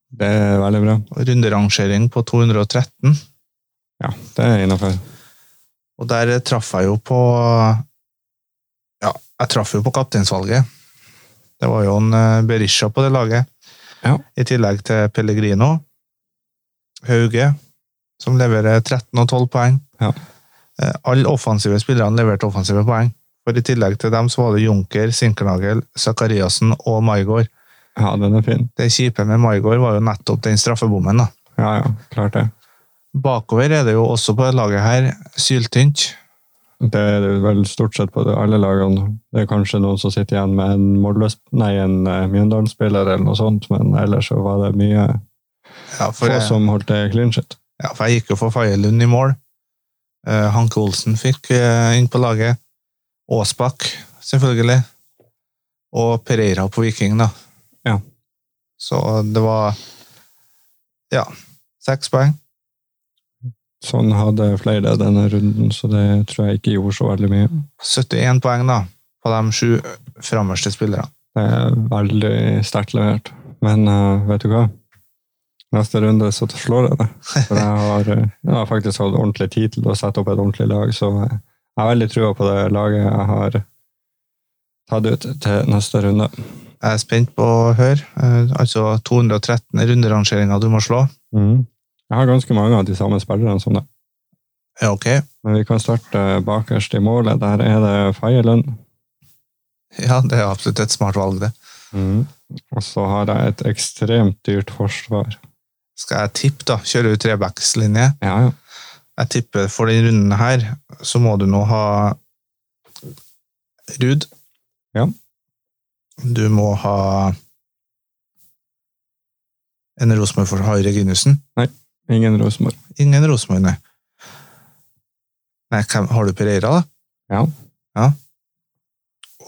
S2: Det er veldig bra.
S1: og Runderangering på 213.
S2: Ja, det er innafor.
S1: Og der eh, traff jeg jo på Ja, jeg traff jo på kapteinsvalget. Det var jo en eh, Berisha på det laget.
S2: Ja.
S1: I tillegg til Pellegrino. Hauge, som leverer 13 og 12 poeng.
S2: Ja.
S1: Eh, Alle offensive spillerne leverte offensive poeng. For i tillegg til dem så var det Junker, Sinkernagel, Sakariassen og Maigård.
S2: Ja, den er fin.
S1: Det kjipe med Maigård var jo nettopp den straffebommen, da.
S2: Ja, ja, klart det.
S1: Bakover er det jo også på det laget her syltynt.
S2: Det er det vel stort sett på alle lagene. Det er kanskje noen som sitter igjen med en, målløs- nei, en eh, Mjøndalen-spiller eller noe sånt, men ellers så var det mye
S1: Ja,
S2: få
S1: for, eh, jeg,
S2: som holdt det clean shit.
S1: ja, for jeg gikk jo for Faye Lund i mål. Eh, Hanke Olsen fikk eh, inn på laget. Aasbakk, selvfølgelig. Og Pereira på Viking, da.
S2: Ja.
S1: Så det var Ja, seks poeng.
S2: Sånn hadde flere denne runden, så det tror jeg ikke gjorde så veldig mye.
S1: 71 poeng, da, på de sju framerste spillerne.
S2: Det er veldig sterkt levert. Men eh, vet du hva? Neste runde så slår jeg det. For jeg har, eh, jeg har faktisk hatt ordentlig tid til å sette opp et ordentlig lag, så eh, jeg har veldig trua på det laget jeg har tatt ut til neste runde.
S1: Jeg er spent på å høre. eh, altså 213 runderangeringer du må slå.
S2: Jeg har ganske mange av de samme spillerne som deg.
S1: Ja, ok.
S2: Men vi kan starte eh, bakerst i målet. Der er det Feierlund.
S1: Ja, det er absolutt et smart valg, det.
S2: Mm. Og så har jeg et ekstremt dyrt forsvar.
S1: Skal jeg tippe, da? Kjører du trebackslinje?
S2: Ja, ja.
S1: Jeg tipper for den runden her, så må du nå ha Ruud.
S2: Ja.
S1: Du må ha en Rosenborg for Harry Reginussen.
S2: Ingen Rosenborg.
S1: Ingen Rosenborg, nei. Nei, hvem, har du Pereira, da?
S2: Ja.
S1: Ja.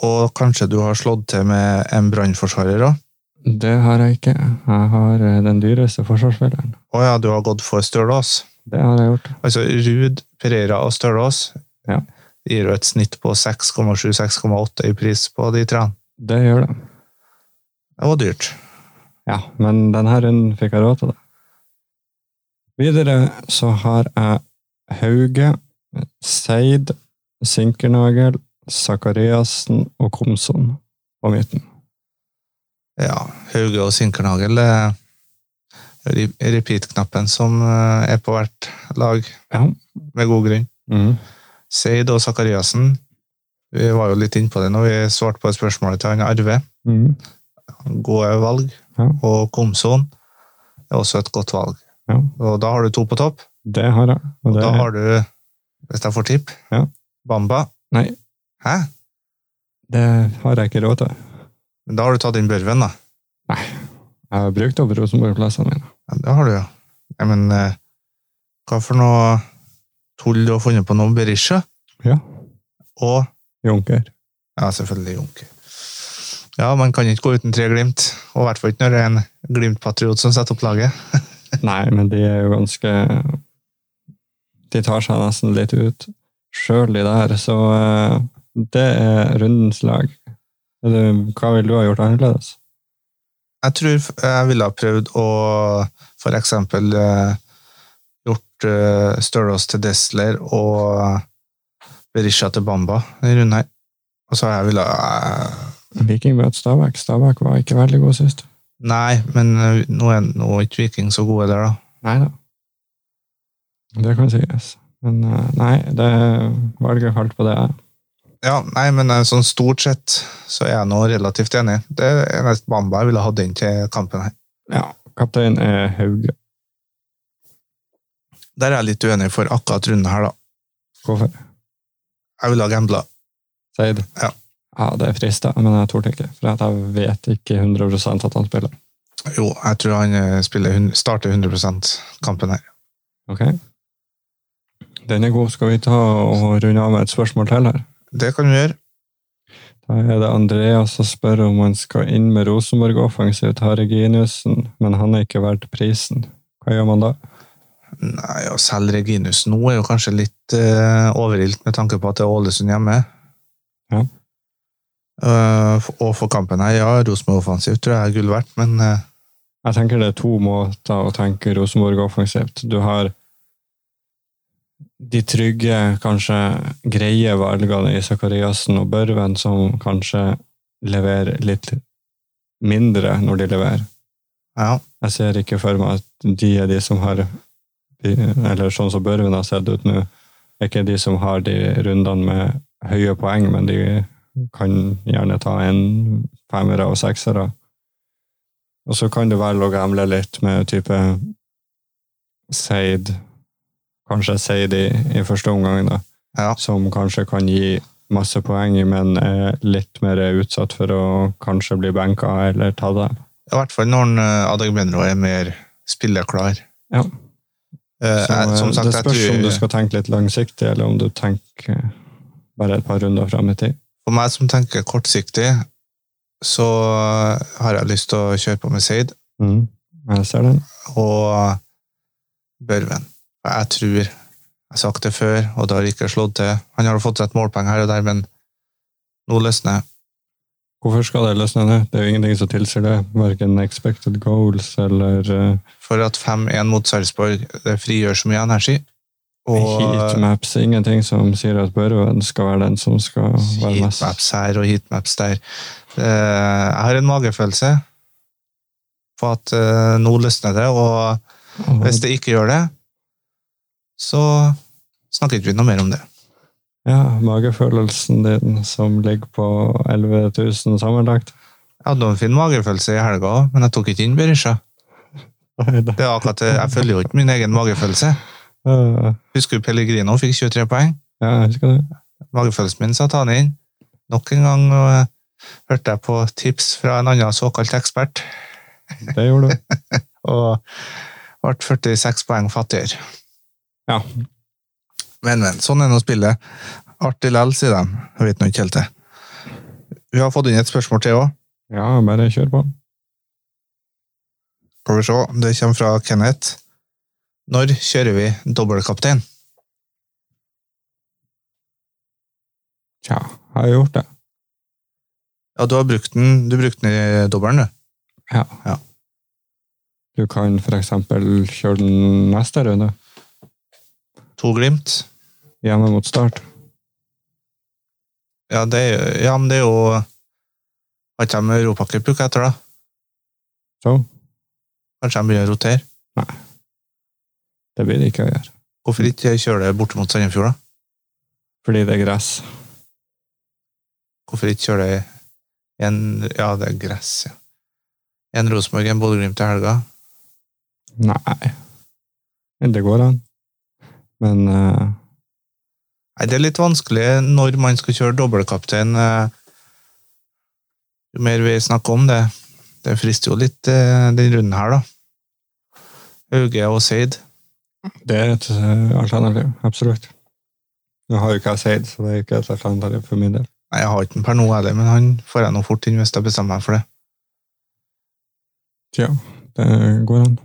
S1: Og kanskje du har slått til med en brannforsvarer òg?
S2: Det har jeg ikke. Jeg har eh, den dyreste forsvarsspilleren.
S1: Å ja, du har gått for Stølås?
S2: Det har jeg gjort.
S1: Altså Ruud, Pereira og Stølås
S2: Ja.
S1: gir jo et snitt på 6,7-6,8 i pris på de trærne.
S2: Det gjør det.
S1: Det var dyrt.
S2: Ja, men denne runden fikk jeg råd til det. Videre så har jeg Hauge, Seid, Sinkernagel, Sakariassen og Komson på midten.
S1: Ja, Hauge og Sinkernagel det er re- repeat-knappen som eh, er på hvert lag,
S2: Ja.
S1: med god grunn.
S2: Mm.
S1: Seid og Sakariassen Vi var jo litt inne på det når vi svarte på spørsmålet til han Arve.
S2: Mhm.
S1: Gode valg.
S2: Ja.
S1: Og Komson er også et godt valg.
S2: Ja.
S1: Og da har du to på topp.
S2: Det har jeg. Og det
S1: Da
S2: er
S1: har du, hvis jeg får tipp,
S2: Ja.
S1: Bamba.
S2: Nei.
S1: Hæ?
S2: Det har jeg ikke råd til.
S1: Men da har du tatt inn Børven, da.
S2: Jeg har brukt opp Rosenborg-plassene mine.
S1: Ja, det har du, ja. Nei, men eh, hva for noe tull du har funnet på nå? Berisha?
S2: Ja.
S1: Og
S2: Junker.
S1: ja, selvfølgelig Junker. Ja, man kan ikke gå uten tre Glimt, og i hvert fall ikke når det er en Glimt-patriot som setter opp laget.
S2: Nei, men de er jo ganske De tar seg nesten litt ut sjøl, de der. Så eh, det er rundens lag. Eller, Hva ville du ha gjort annerledes?
S1: Jeg tror f- jeg ville ha prøvd å for eksempel eh, gjort eh, Stølås til Desler og Berisha til Bamba i runden her. Og så har jeg eh, ville ha
S2: Viking møter Stabæk. Stabæk var ikke veldig god sist.
S1: Nei, men eh, nå er nå er ikke Viking så gode der, da.
S2: Nei da. Det kan sies. Men eh, nei, det valget falt på det.
S1: Ja, nei, men eh, sånn stort sett så er jeg nå relativt enig. Det er mest Bamba jeg ville hatt inn til kampen her.
S2: Ja. Kaptein er Hauge.
S1: Der er jeg litt uenig for akkurat runden her, da.
S2: Hvorfor?
S1: Jeg ville ha gambla.
S2: Si det.
S1: Ja.
S2: Ja, det er frista, men jeg torde ikke. For at jeg vet ikke 100 at han spiller.
S1: Jo, jeg tror han eh, spiller, hun- starter 100 kampen her.
S2: Ok? Den er god. Skal vi ta og runde av med et spørsmål til her?
S1: Det kan du gjøre.
S2: Da er det Andreas som spør om han skal inn med Rosenborg offensivt, har Reginiussen, men han er ikke verdt prisen. Hva gjør man da?
S1: Nei, å selge Reginus nå er jo kanskje litt eh, overilt med tanke på at det er Ålesund hjemme.
S2: Ja.
S1: Eh, f- og for kampen her, ja, Rosenborg offensivt tror jeg er gull verdt, men eh,
S2: Jeg tenker det er to måter å tenke Rosenborg offensivt. Du har de trygge, kanskje greie valgene i Sakariassen og Børven, som kanskje leverer litt mindre når de leverer.
S1: ja.
S2: Jeg ser ikke for meg at de er de som har Eller sånn som Børven har sett ut nå, er ikke de som har de rundene med høye poeng, men de kan gjerne ta en femmere og seksere. Og så kan du velge å gamble litt med type Seid Kanskje Seid i, i første omgang, da.
S1: Ja.
S2: Som kanskje kan gi masse poeng, men er litt mer utsatt for å kanskje bli benka eller ta det.
S1: I hvert fall når uh, Adagbenro er mer spilleklar.
S2: Ja.
S1: Eh,
S2: Så,
S1: jeg, som
S2: eh,
S1: sagt, jeg
S2: det spørs om du
S1: tror,
S2: skal tenke litt langsiktig, eller om du tenker eh, bare et par runder fram i tid.
S1: for meg som tenker kortsiktig, så eh, har jeg lyst til å kjøre på med Seid
S2: Jeg ser den.
S1: og Børven. Og Jeg tror Jeg har sagt det før, og det har ikke slått til. Han har jo fått seg et målpoeng her og der, men nå løsner jeg.
S2: Hvorfor skal det løsne nå? Det er jo ingenting som tilsier det. Verken expected goals eller eh,
S1: For at 5-1 mot Sarpsborg det frigjør så mye energi. Og eh,
S2: heatmaps. Ingenting som sier at Børven skal være den som skal være mest.
S1: heatmaps her og heatmaps der. Eh, Jeg har en magefølelse på at eh, nå løsner det, og
S2: Og
S1: hvis det ikke gjør det, så snakker ikke vi noe mer om det.
S2: Ja, magefølelsen din som ligger på 11 000 sammenlagt.
S1: Jeg hadde en fin magefølelse i helga òg, men jeg tok ikke inn Berisha.
S2: Nei, det-
S1: Det er akkurat det. Jeg følger jo ikke min egen magefølelse.
S2: eh,
S1: Husker du Pellegrino fikk 23 poeng?
S2: Ja, jeg husker det.
S1: Magefølelsen min satte han inn. Nok en gang eh, hørte jeg på tips fra en annen såkalt ekspert,
S2: Det gjorde du.
S1: og ble 46 poeng fattigere.
S2: Ja.
S1: Men, men. Sånn er nå spillet. Artig lell, sier de. Jeg vet nå ikke helt det. Vi har fått inn et spørsmål til òg.
S2: Ja, bare kjør på.
S1: Skal vi se. Det kommer fra Kenneth. Når kjører vi dobbeltkaptein?
S2: Tja, jeg har gjort det.
S1: Ja, du har brukt den, du brukte den i dobbelen, du.
S2: Du kan for eksempel kjøre den neste runde,
S1: To glimt.
S2: hjemme mot start.
S1: Ja, det er, jo- ja, men det er jo Har ikke de europacup uka etter, da?
S2: Så
S1: Kanskje de begynner å rotere?
S2: det blir det ikke å gjøre.
S1: Hvorfor ikke kjøre det borte mot Sandefjord, da?
S2: Fordi det er gress.
S1: Hvorfor ikke kjøre det i en Ja, det er gress, ja. En Rosenborg, en Bodø-Glimt i helga.
S2: Nei. Men Det går an. Men eh,
S1: Nei, det er litt vanskelig når man skal kjøre dobbeltkaptein. eh, Jo mer vi snakker om det, det frister jo litt eh, den runden her, da. Hauge og Seid.
S2: det er et eh, alternativ. Absolutt. Nå har jo ikke jeg Seid, så det er ikke et alternativ for min del.
S1: Nei, jeg har ikke den per nå heller, men han får jeg nå fort inn hvis jeg bestemmer meg for det.
S2: Tja, det går an.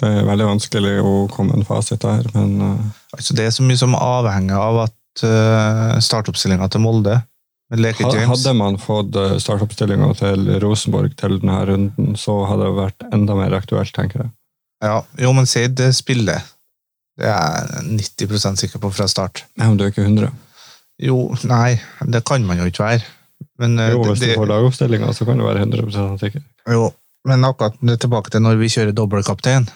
S2: Det er veldig vanskelig å komme en fasit der, men eh,
S1: Altså, det er så mye som avhenger av at uh, startoppstillinga til Molde med Leke
S2: ha-
S1: James
S2: hadde man fått eh, startoppstillinga til Rosenborg til denne runden, så hadde det vært enda mer aktuelt, tenker jeg.
S1: ja, Jo, men Seid spiller. Det er jeg 90 sikker på fra start.
S2: Nei, men du er ikke 100.
S1: Jo, nei, det kan man jo ikke være. Men, eh,
S2: Jo, hvis
S1: det,
S2: du får
S1: det,
S2: lagoppstillinga, så kan du være 100 sikker.
S1: jo, men akkurat det er tilbake til når vi kjører dobbeltkaptein.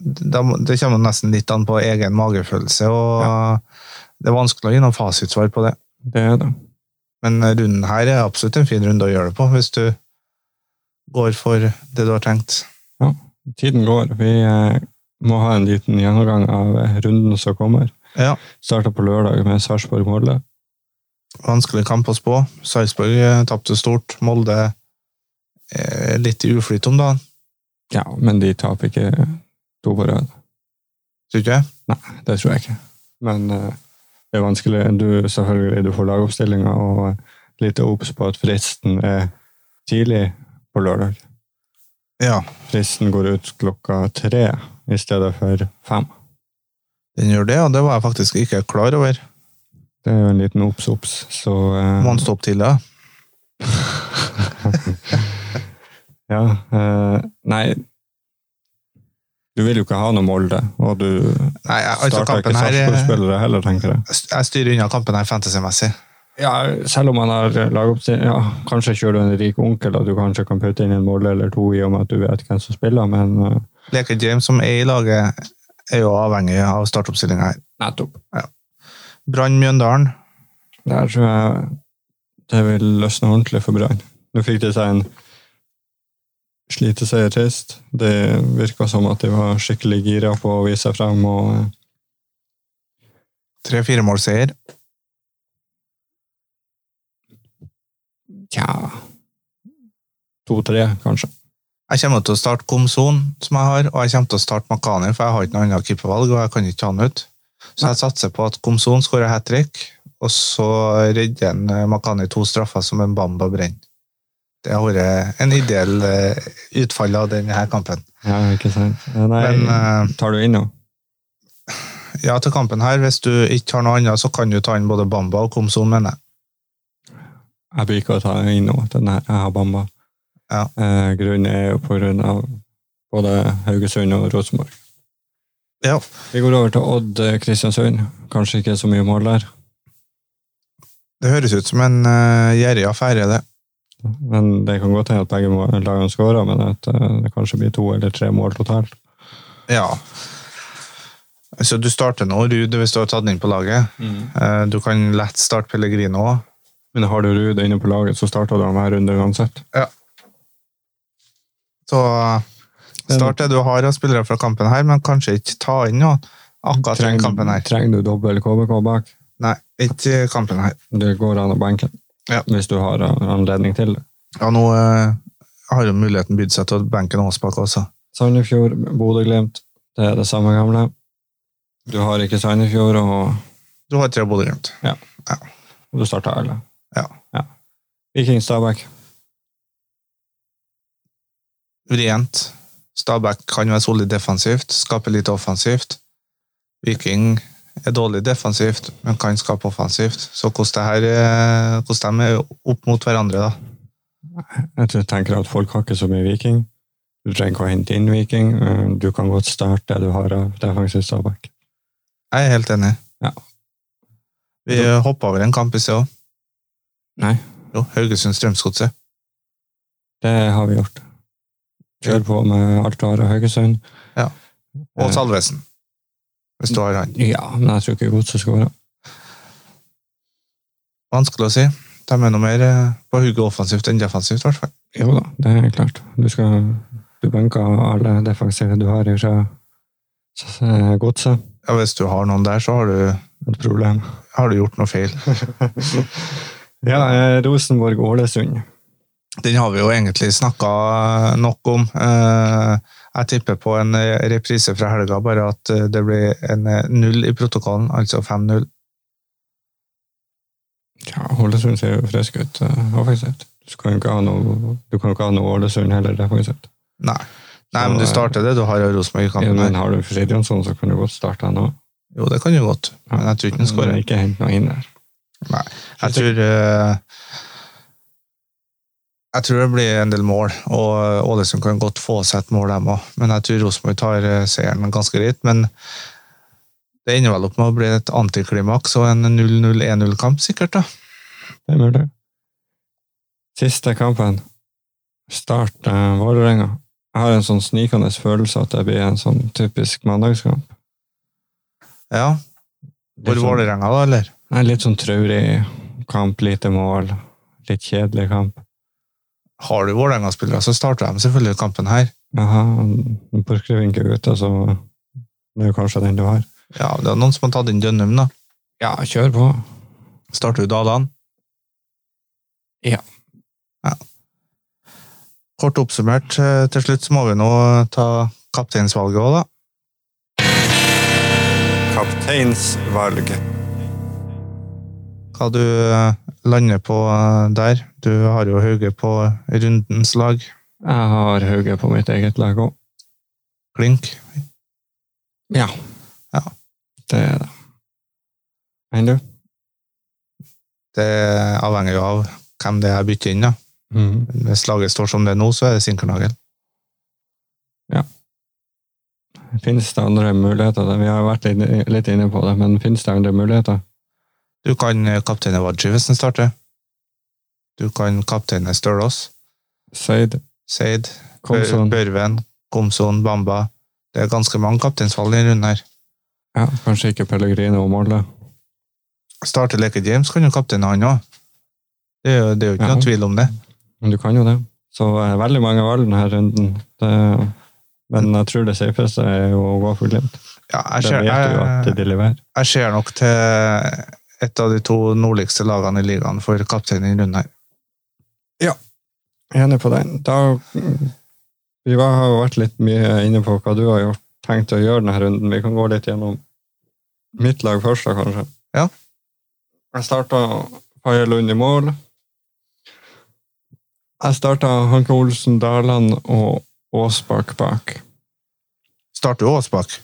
S1: Da, må- det kommer nesten litt an på egen magefølelse, og det er vanskelig å gi noe fasitsvar på det.
S2: Det er det.
S1: Men eh, runden her er absolutt en fin runde å gjøre det på, hvis du går for det du har tenkt.
S2: Tiden går. Vi eh, må ha en liten gjennomgang av eh, runden som kommer.
S1: Ja.
S2: Starta på lørdag med Sarpsborg-Molde.
S1: Vanskelig kamp å spå. Sarpsborg eh, tapte stort. Molde eh, litt i uflyt om dagen,
S2: Ja, men de taper ikke to på rød.
S1: tror du ikke?
S2: Det tror jeg ikke. Men eh, det er vanskelig. Du, selvfølgelig, du får lagoppstillinga og eh, litt obs på at fristen er tidlig på lørdag.
S1: Ja,
S2: Fristen går ut klokka tre i stedet for fem.
S1: den gjør det, og det var jeg faktisk ikke klar over.
S2: Det er jo en liten obs-obs, så eh,
S1: Må han stoppe tidligere?
S2: Ja. eh, nei Du vil jo ikke ha noe Molde, og du
S1: Nei, jeg, altså
S2: starter ikke
S1: kampen her eh,
S2: Sarpsborg-spillere heller, tenker jeg.
S1: Jeg styrer unna kampen her fantasy-messig.
S2: Ja, selv om man har lagoppstilling ja, Kanskje kjører du en rik onkel, og du kanskje kan putte inn en mål eller to i og med at du vet hvem som spiller, men eh,
S1: Leke James, som er i laget, er jo avhengig av startoppstillinga her.
S2: nettopp.
S1: Brann Mjøndalen.
S2: Der tror jeg det vil løsne ordentlig for Brann. Nå fikk de seg en sliteseier sist. Det virka som at de var skikkelig gira på å vise seg frem, og eh,
S1: Tre-firemålseier.
S2: tja To-tre, kanskje.
S1: Jeg kommer til å starte Komson, som jeg har, og jeg kommer til å starte Makani, for jeg har ikke noe annet keepervalg, og jeg kan ikke ta han ut. Så jeg satser på at Komson skårer hat trick, og så redder han eh, Makani to straffer som en Bamba brenner. Det har vært en ideell eh, utfall av denne her kampen.
S2: Ja, ikke sant. Eh, Nei,
S1: Men eh,
S2: tar du inn nå?
S1: ja, til kampen her, hvis du ikke har noe annet, så kan du ta inn både Bamba og Komson, mener jeg.
S2: Jeg blir ikke å ta inn nå, den her jeg har bamba.
S1: Ja.
S2: Eh, grunnen er jo på grunn av både Haugesund og Rosenborg.
S1: Ja.
S2: Vi går over til Odd eh, Kristiansund. Kanskje ikke så mye mål der,
S1: Det høres ut som en uh, gjerrig affære, det.
S2: men det kan godt hende at begge må- lagene skårer, men at eh, det kanskje blir to eller tre mål totalt.
S1: Ja. Altså, du starter nå, Ruud, hvis du har tatt den inn på laget. Eh, Du kan lett starte Pellegrino òg.
S2: Men har du Ruud inne på laget, så starter du han hver runde uansett.
S1: Så eh, start det du har av spillere fra kampen her, men kanskje ikke ta inn noe akkurat i kampen her.
S2: trenger du dobbel KBK bak?
S1: Nei, ikke i kampen her.
S2: Det går an å benke
S1: Ja.
S2: hvis du har eh, anledning til det.
S1: Ja, nå eh, har jo muligheten bydd seg til å benke en Aasbakk også.
S2: Sandefjord, Bodø-Glimt, det er det samme gamle. Du har ikke Sandefjord, og
S1: Du har tre Bodø-Glimt.
S2: og du starter alle.
S1: Ja.
S2: Viking Stabæk.
S1: Vrient. Stabæk kan være solid defensivt, skape litt offensivt. Viking er dårlig defensivt, men kan skape offensivt. Så hvordan det her, eh, hvordan de er opp mot hverandre, da.
S2: Jeg tror- tenker at folk har ikke så mye Viking. Du trenger ikke å hente inn Viking. eh, Du kan godt starte det du har av defensiv Stabæk.
S1: Jeg er helt enig.
S2: Ja.
S1: Vi hoppa over en kamp i sted òg.
S2: Nei.
S1: Jo, Haugesund-Strømsgodset.
S2: Det har vi gjort. Kjør på med alt du har av Haugesund.
S1: Og
S2: Eh.
S1: Salvesen, hvis du har han.
S2: Ja, men jeg tror ikke Godset skårer.
S1: Vanskelig å si. De er noe mer eh, på hugget offensivt enn defensivt, i hvert fall.
S2: Jo da, det er klart. Du skal du benker alle defensive du har fra eh, Godset.
S1: Ja, hvis du har noen der, så har du,
S2: Et problem.
S1: har du gjort noe feil.
S2: Ja, eh, Rosenborg-Ålesund.
S1: Den har vi jo egentlig snakka nok om. Eh, Jeg tipper på en eh, reprise fra helga, bare at eh, det blir en eh, null i protokollen, altså 5-0.
S2: Ja, Ålesund ser jo frisk ut eh, offensivt. Du kan jo ikke ha noe, du kan jo ikke ha noe Ålesund heller defensivt.
S1: Nei. Nei,
S2: eh,
S1: men du starter det du har av Rosenborg i kampen. her.
S2: Men har du Fred Jonsson, så kan du godt starte han òg.
S1: Jo, det kan jo godt, men jeg tror ikke han skårer.
S2: Ikke hent noe inn der.
S1: Jeg tror eh, Jeg tror det blir en del mål, og eh, Ålesund kan godt få seg et mål, dem òg. Men jeg tror Rosenborg tar eh, seieren ganske greit. Men det ender vel opp med å bli et antiklimaks og en 0-0-1-0-kamp, sikkert. da.
S2: Det er mulig. Siste kampen. Start eh, Vålerenga. Jeg har en sånn snikende følelse at det blir en sånn typisk mandagskamp.
S1: Ja,
S2: Litt
S1: For
S2: sånn-
S1: Vålerenga, da, eller?
S2: Nei, Litt sånn traurig kamp, lite mål. Litt kjedelig kamp.
S1: Har du Vålerenga-spillere, så starter de selvfølgelig kampen her.
S2: Jaha, Porsgrevink er ute, så Det er jo kanskje den du har.
S1: Ja, det er noen som har tatt inn Dønnum, da.
S2: Ja, kjør på.
S1: Starter du Dalan?
S2: Ja.
S1: Ja. Kort oppsummert, eh, til slutt så må vi nå ta kapteinsvalget òg, da.
S2: Kapteinsvalg.
S1: Hva du eh, lander på eh, der. Du har jo Hauge på rundens lag.
S2: Jeg har Hauge på mitt eget lag òg.
S1: Klink.
S2: Ja.
S1: Ja.
S2: Det er det. Enn du?
S1: Det avhenger jo av hvem det er jeg bytter inn, da.
S2: Mhm.
S1: Hvis laget står som det er nå, så er det Sinkernagel.
S2: Fins det andre muligheter? Vi har vært litt, litt inne på det, men fins det andre muligheter?
S1: Du kan eh, kapteine Wadji hvis den starter. Du kan kapteine Stølås,
S2: Seid, sånn.
S1: Seid, Bø-
S2: Komson
S1: Børven, Komson, Bamba. Det er ganske mange kapteinsfall i denne runden her.
S2: ja, Kanskje ikke Pellegrino og Molde.
S1: Starter Leke James, kan jo kapteine han òg. Det, er jo- det er jo ikke
S2: Ja.
S1: noe tvil om det.
S2: Men du kan jo det. Så eh, veldig mange valg denne runden. Det, men jeg tror det safeste er jo å gå for Glimt.
S1: Ja, jeg
S2: Det
S1: ser,
S2: vet du jo at
S1: jeg,
S2: de leverer.
S1: jeg ser nok til et av de to nordligste lagene i ligaen for kaptein i denne runden her.
S2: Enig på den. Da, vi var, har jo vært litt mye inne på hva du har gjort, tenkt å gjøre denne runden. Vi kan gå litt gjennom mitt lag først, da, kanskje.
S1: Ja.
S2: Jeg starta Faye Lund i mål. Jeg starta Hanke Olsen, Daland og Aasbakk bak.
S1: Starter jo Aasbakk.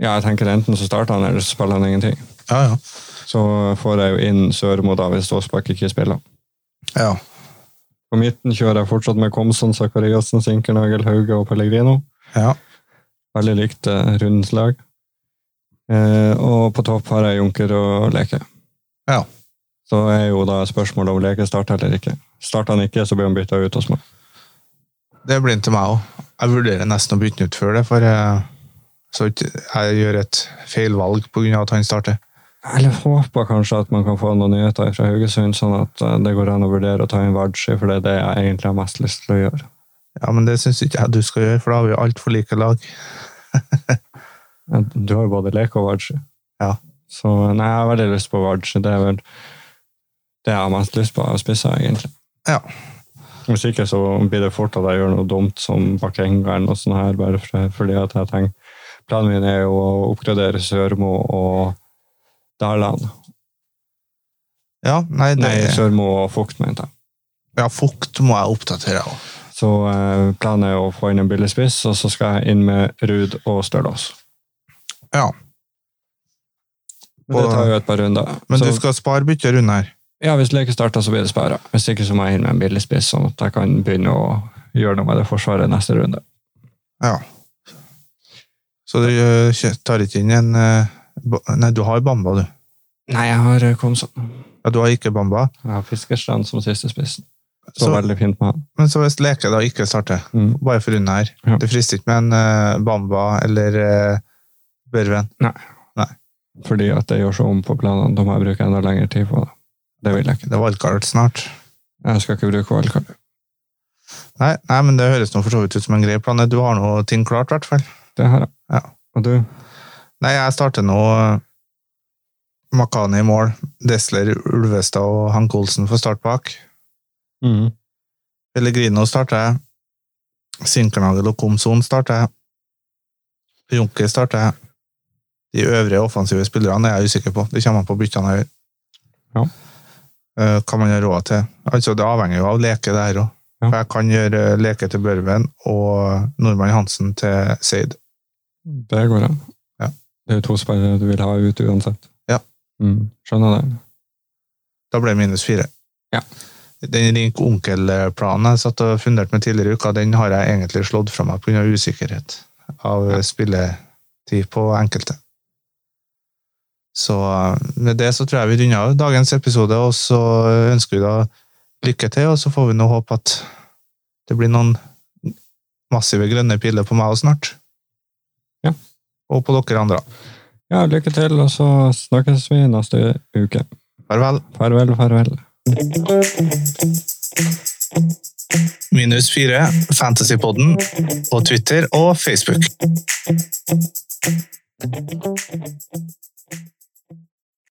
S2: Ja, jeg tenker enten så starter han, eller så spiller han ingenting.
S1: Ja, ja.
S2: Så får jeg jo inn Sørmo da, hvis Aasbakk ikke spiller.
S1: ja.
S2: På midten kjører jeg fortsatt med Komson, Sakariassen, Sinkernagel, Hauge og Pellegrino.
S1: ja.
S2: Veldig likt eh, rundens lag. Eh, og på topp har jeg Junker og Leke.
S1: Ja.
S2: Så er jo da spørsmålet om Leke starter eller ikke. Starter han ikke, så blir han bytta ut hos meg.
S1: Det blir den til meg òg. Jeg vurderer nesten å bytte den ut før det, for jeg, så ikke jeg gjør et feil valg på grunn av at han starter.
S2: Eller håper kanskje at man kan få noen nyheter fra Haugesund, sånn at eh, det går an å vurdere å ta inn Vardsi, for det er det jeg egentlig har mest lyst til å gjøre.
S1: Ja, men det syns ikke jeg du skal gjøre, for da har vi altfor like lag.
S2: Men Du har jo både Leke og Vardsi.
S1: Ja.
S2: Så nei, jeg har veldig lyst på Vardsi. Det er vel det jeg har mest lyst på av spisser, egentlig.
S1: Ja.
S2: Hvis ikke så blir det fort at jeg gjør noe dumt som Bakenga eller noe sånt her, bare for, fordi at jeg tenker Planen min er jo å oppgradere Sørmo og Daland.
S1: Ja, nei, det,
S2: Nei, Sørmo og Fukt, mente jeg.
S1: ja, fukt må jeg oppdatere òg.
S2: Så eh, planen er å få inn en billig spiss, og så skal jeg inn med Ruud og Stølås.
S1: Ja.
S2: Men det tar jo et par runder.
S1: Men
S2: Så,
S1: du skal spare bytte runde her.
S2: Ja, Hvis leken starter, så blir det sperra. Hvis ikke, så må jeg inn med en billig spiss, sånn at jeg kan begynne å gjøre noe med det forsvaret neste runde.
S1: Ja. Så du eh, kjø- tar ikke inn en eh, ba- Nei, du har Bamba, du.
S2: Nei, jeg har eh, Komson.
S1: Ja, du har ikke Bamba.
S2: Jeg har Fiskerstrand som siste spissen.
S1: Så,
S2: Så, veldig fint med han.
S1: men så hvis Leke da ikke starter,
S2: Mm.
S1: bare for runden her
S2: Ja.
S1: Det frister ikke med en eh, Bamba eller eh, Børven.
S2: Fordi at jeg gjør så om på planene, da må jeg bruke enda lengre tid på det. Det vil jeg ikke.
S1: Det er valgkart snart.
S2: Jeg skal ikke bruke valgkart.
S1: Nei, nei, men det høres nå for så vidt ut som en grei plan. Du har nå ting klart, i hvert fall.
S2: Det har jeg.
S1: Ja.
S2: Og du?
S1: Nei, jeg starter nå eh, Makani i mål, Desler, Ulvestad og Hank Olsen får start bak. Pellegrino starter jeg. Sinkernagel og Komson starter jeg. Junker starter jeg. De øvrige offensive spillerne er jeg usikker på. Det kommer an på byttene jeg gjør.
S2: Ja.
S1: Eh, Hva man har råd til. Altså, det avhenger jo av leke, det her òg.
S2: Ja.
S1: For jeg kan gjøre eh, leke til Børven og Nordmann Hansen til Seid.
S2: Det går an.
S1: Ja.
S2: Det er jo to spillere du vil ha ut uansett.
S1: Ja.
S2: Mm. Skjønner det.
S1: Da ble det minus fire.
S2: Ja.
S1: Den rik onkel-planen jeg satt og funderte med tidligere i uka, den har jeg egentlig slått fra meg pga. usikkerhet av
S2: Ja.
S1: spilletid på enkelte. Så eh, med det så tror jeg vi runder av dagens episode, og så eh, ønsker vi da lykke til, og så får vi nå håpe at det blir noen massive grønne piler på meg også snart.
S2: Ja.
S1: Og på dere andre.
S2: Ja, lykke til, og så snakkes vi neste uke.
S1: Farvel.
S2: Farvel, farvel.
S1: Minus 4, Fantasypodden på Twitter og Facebook.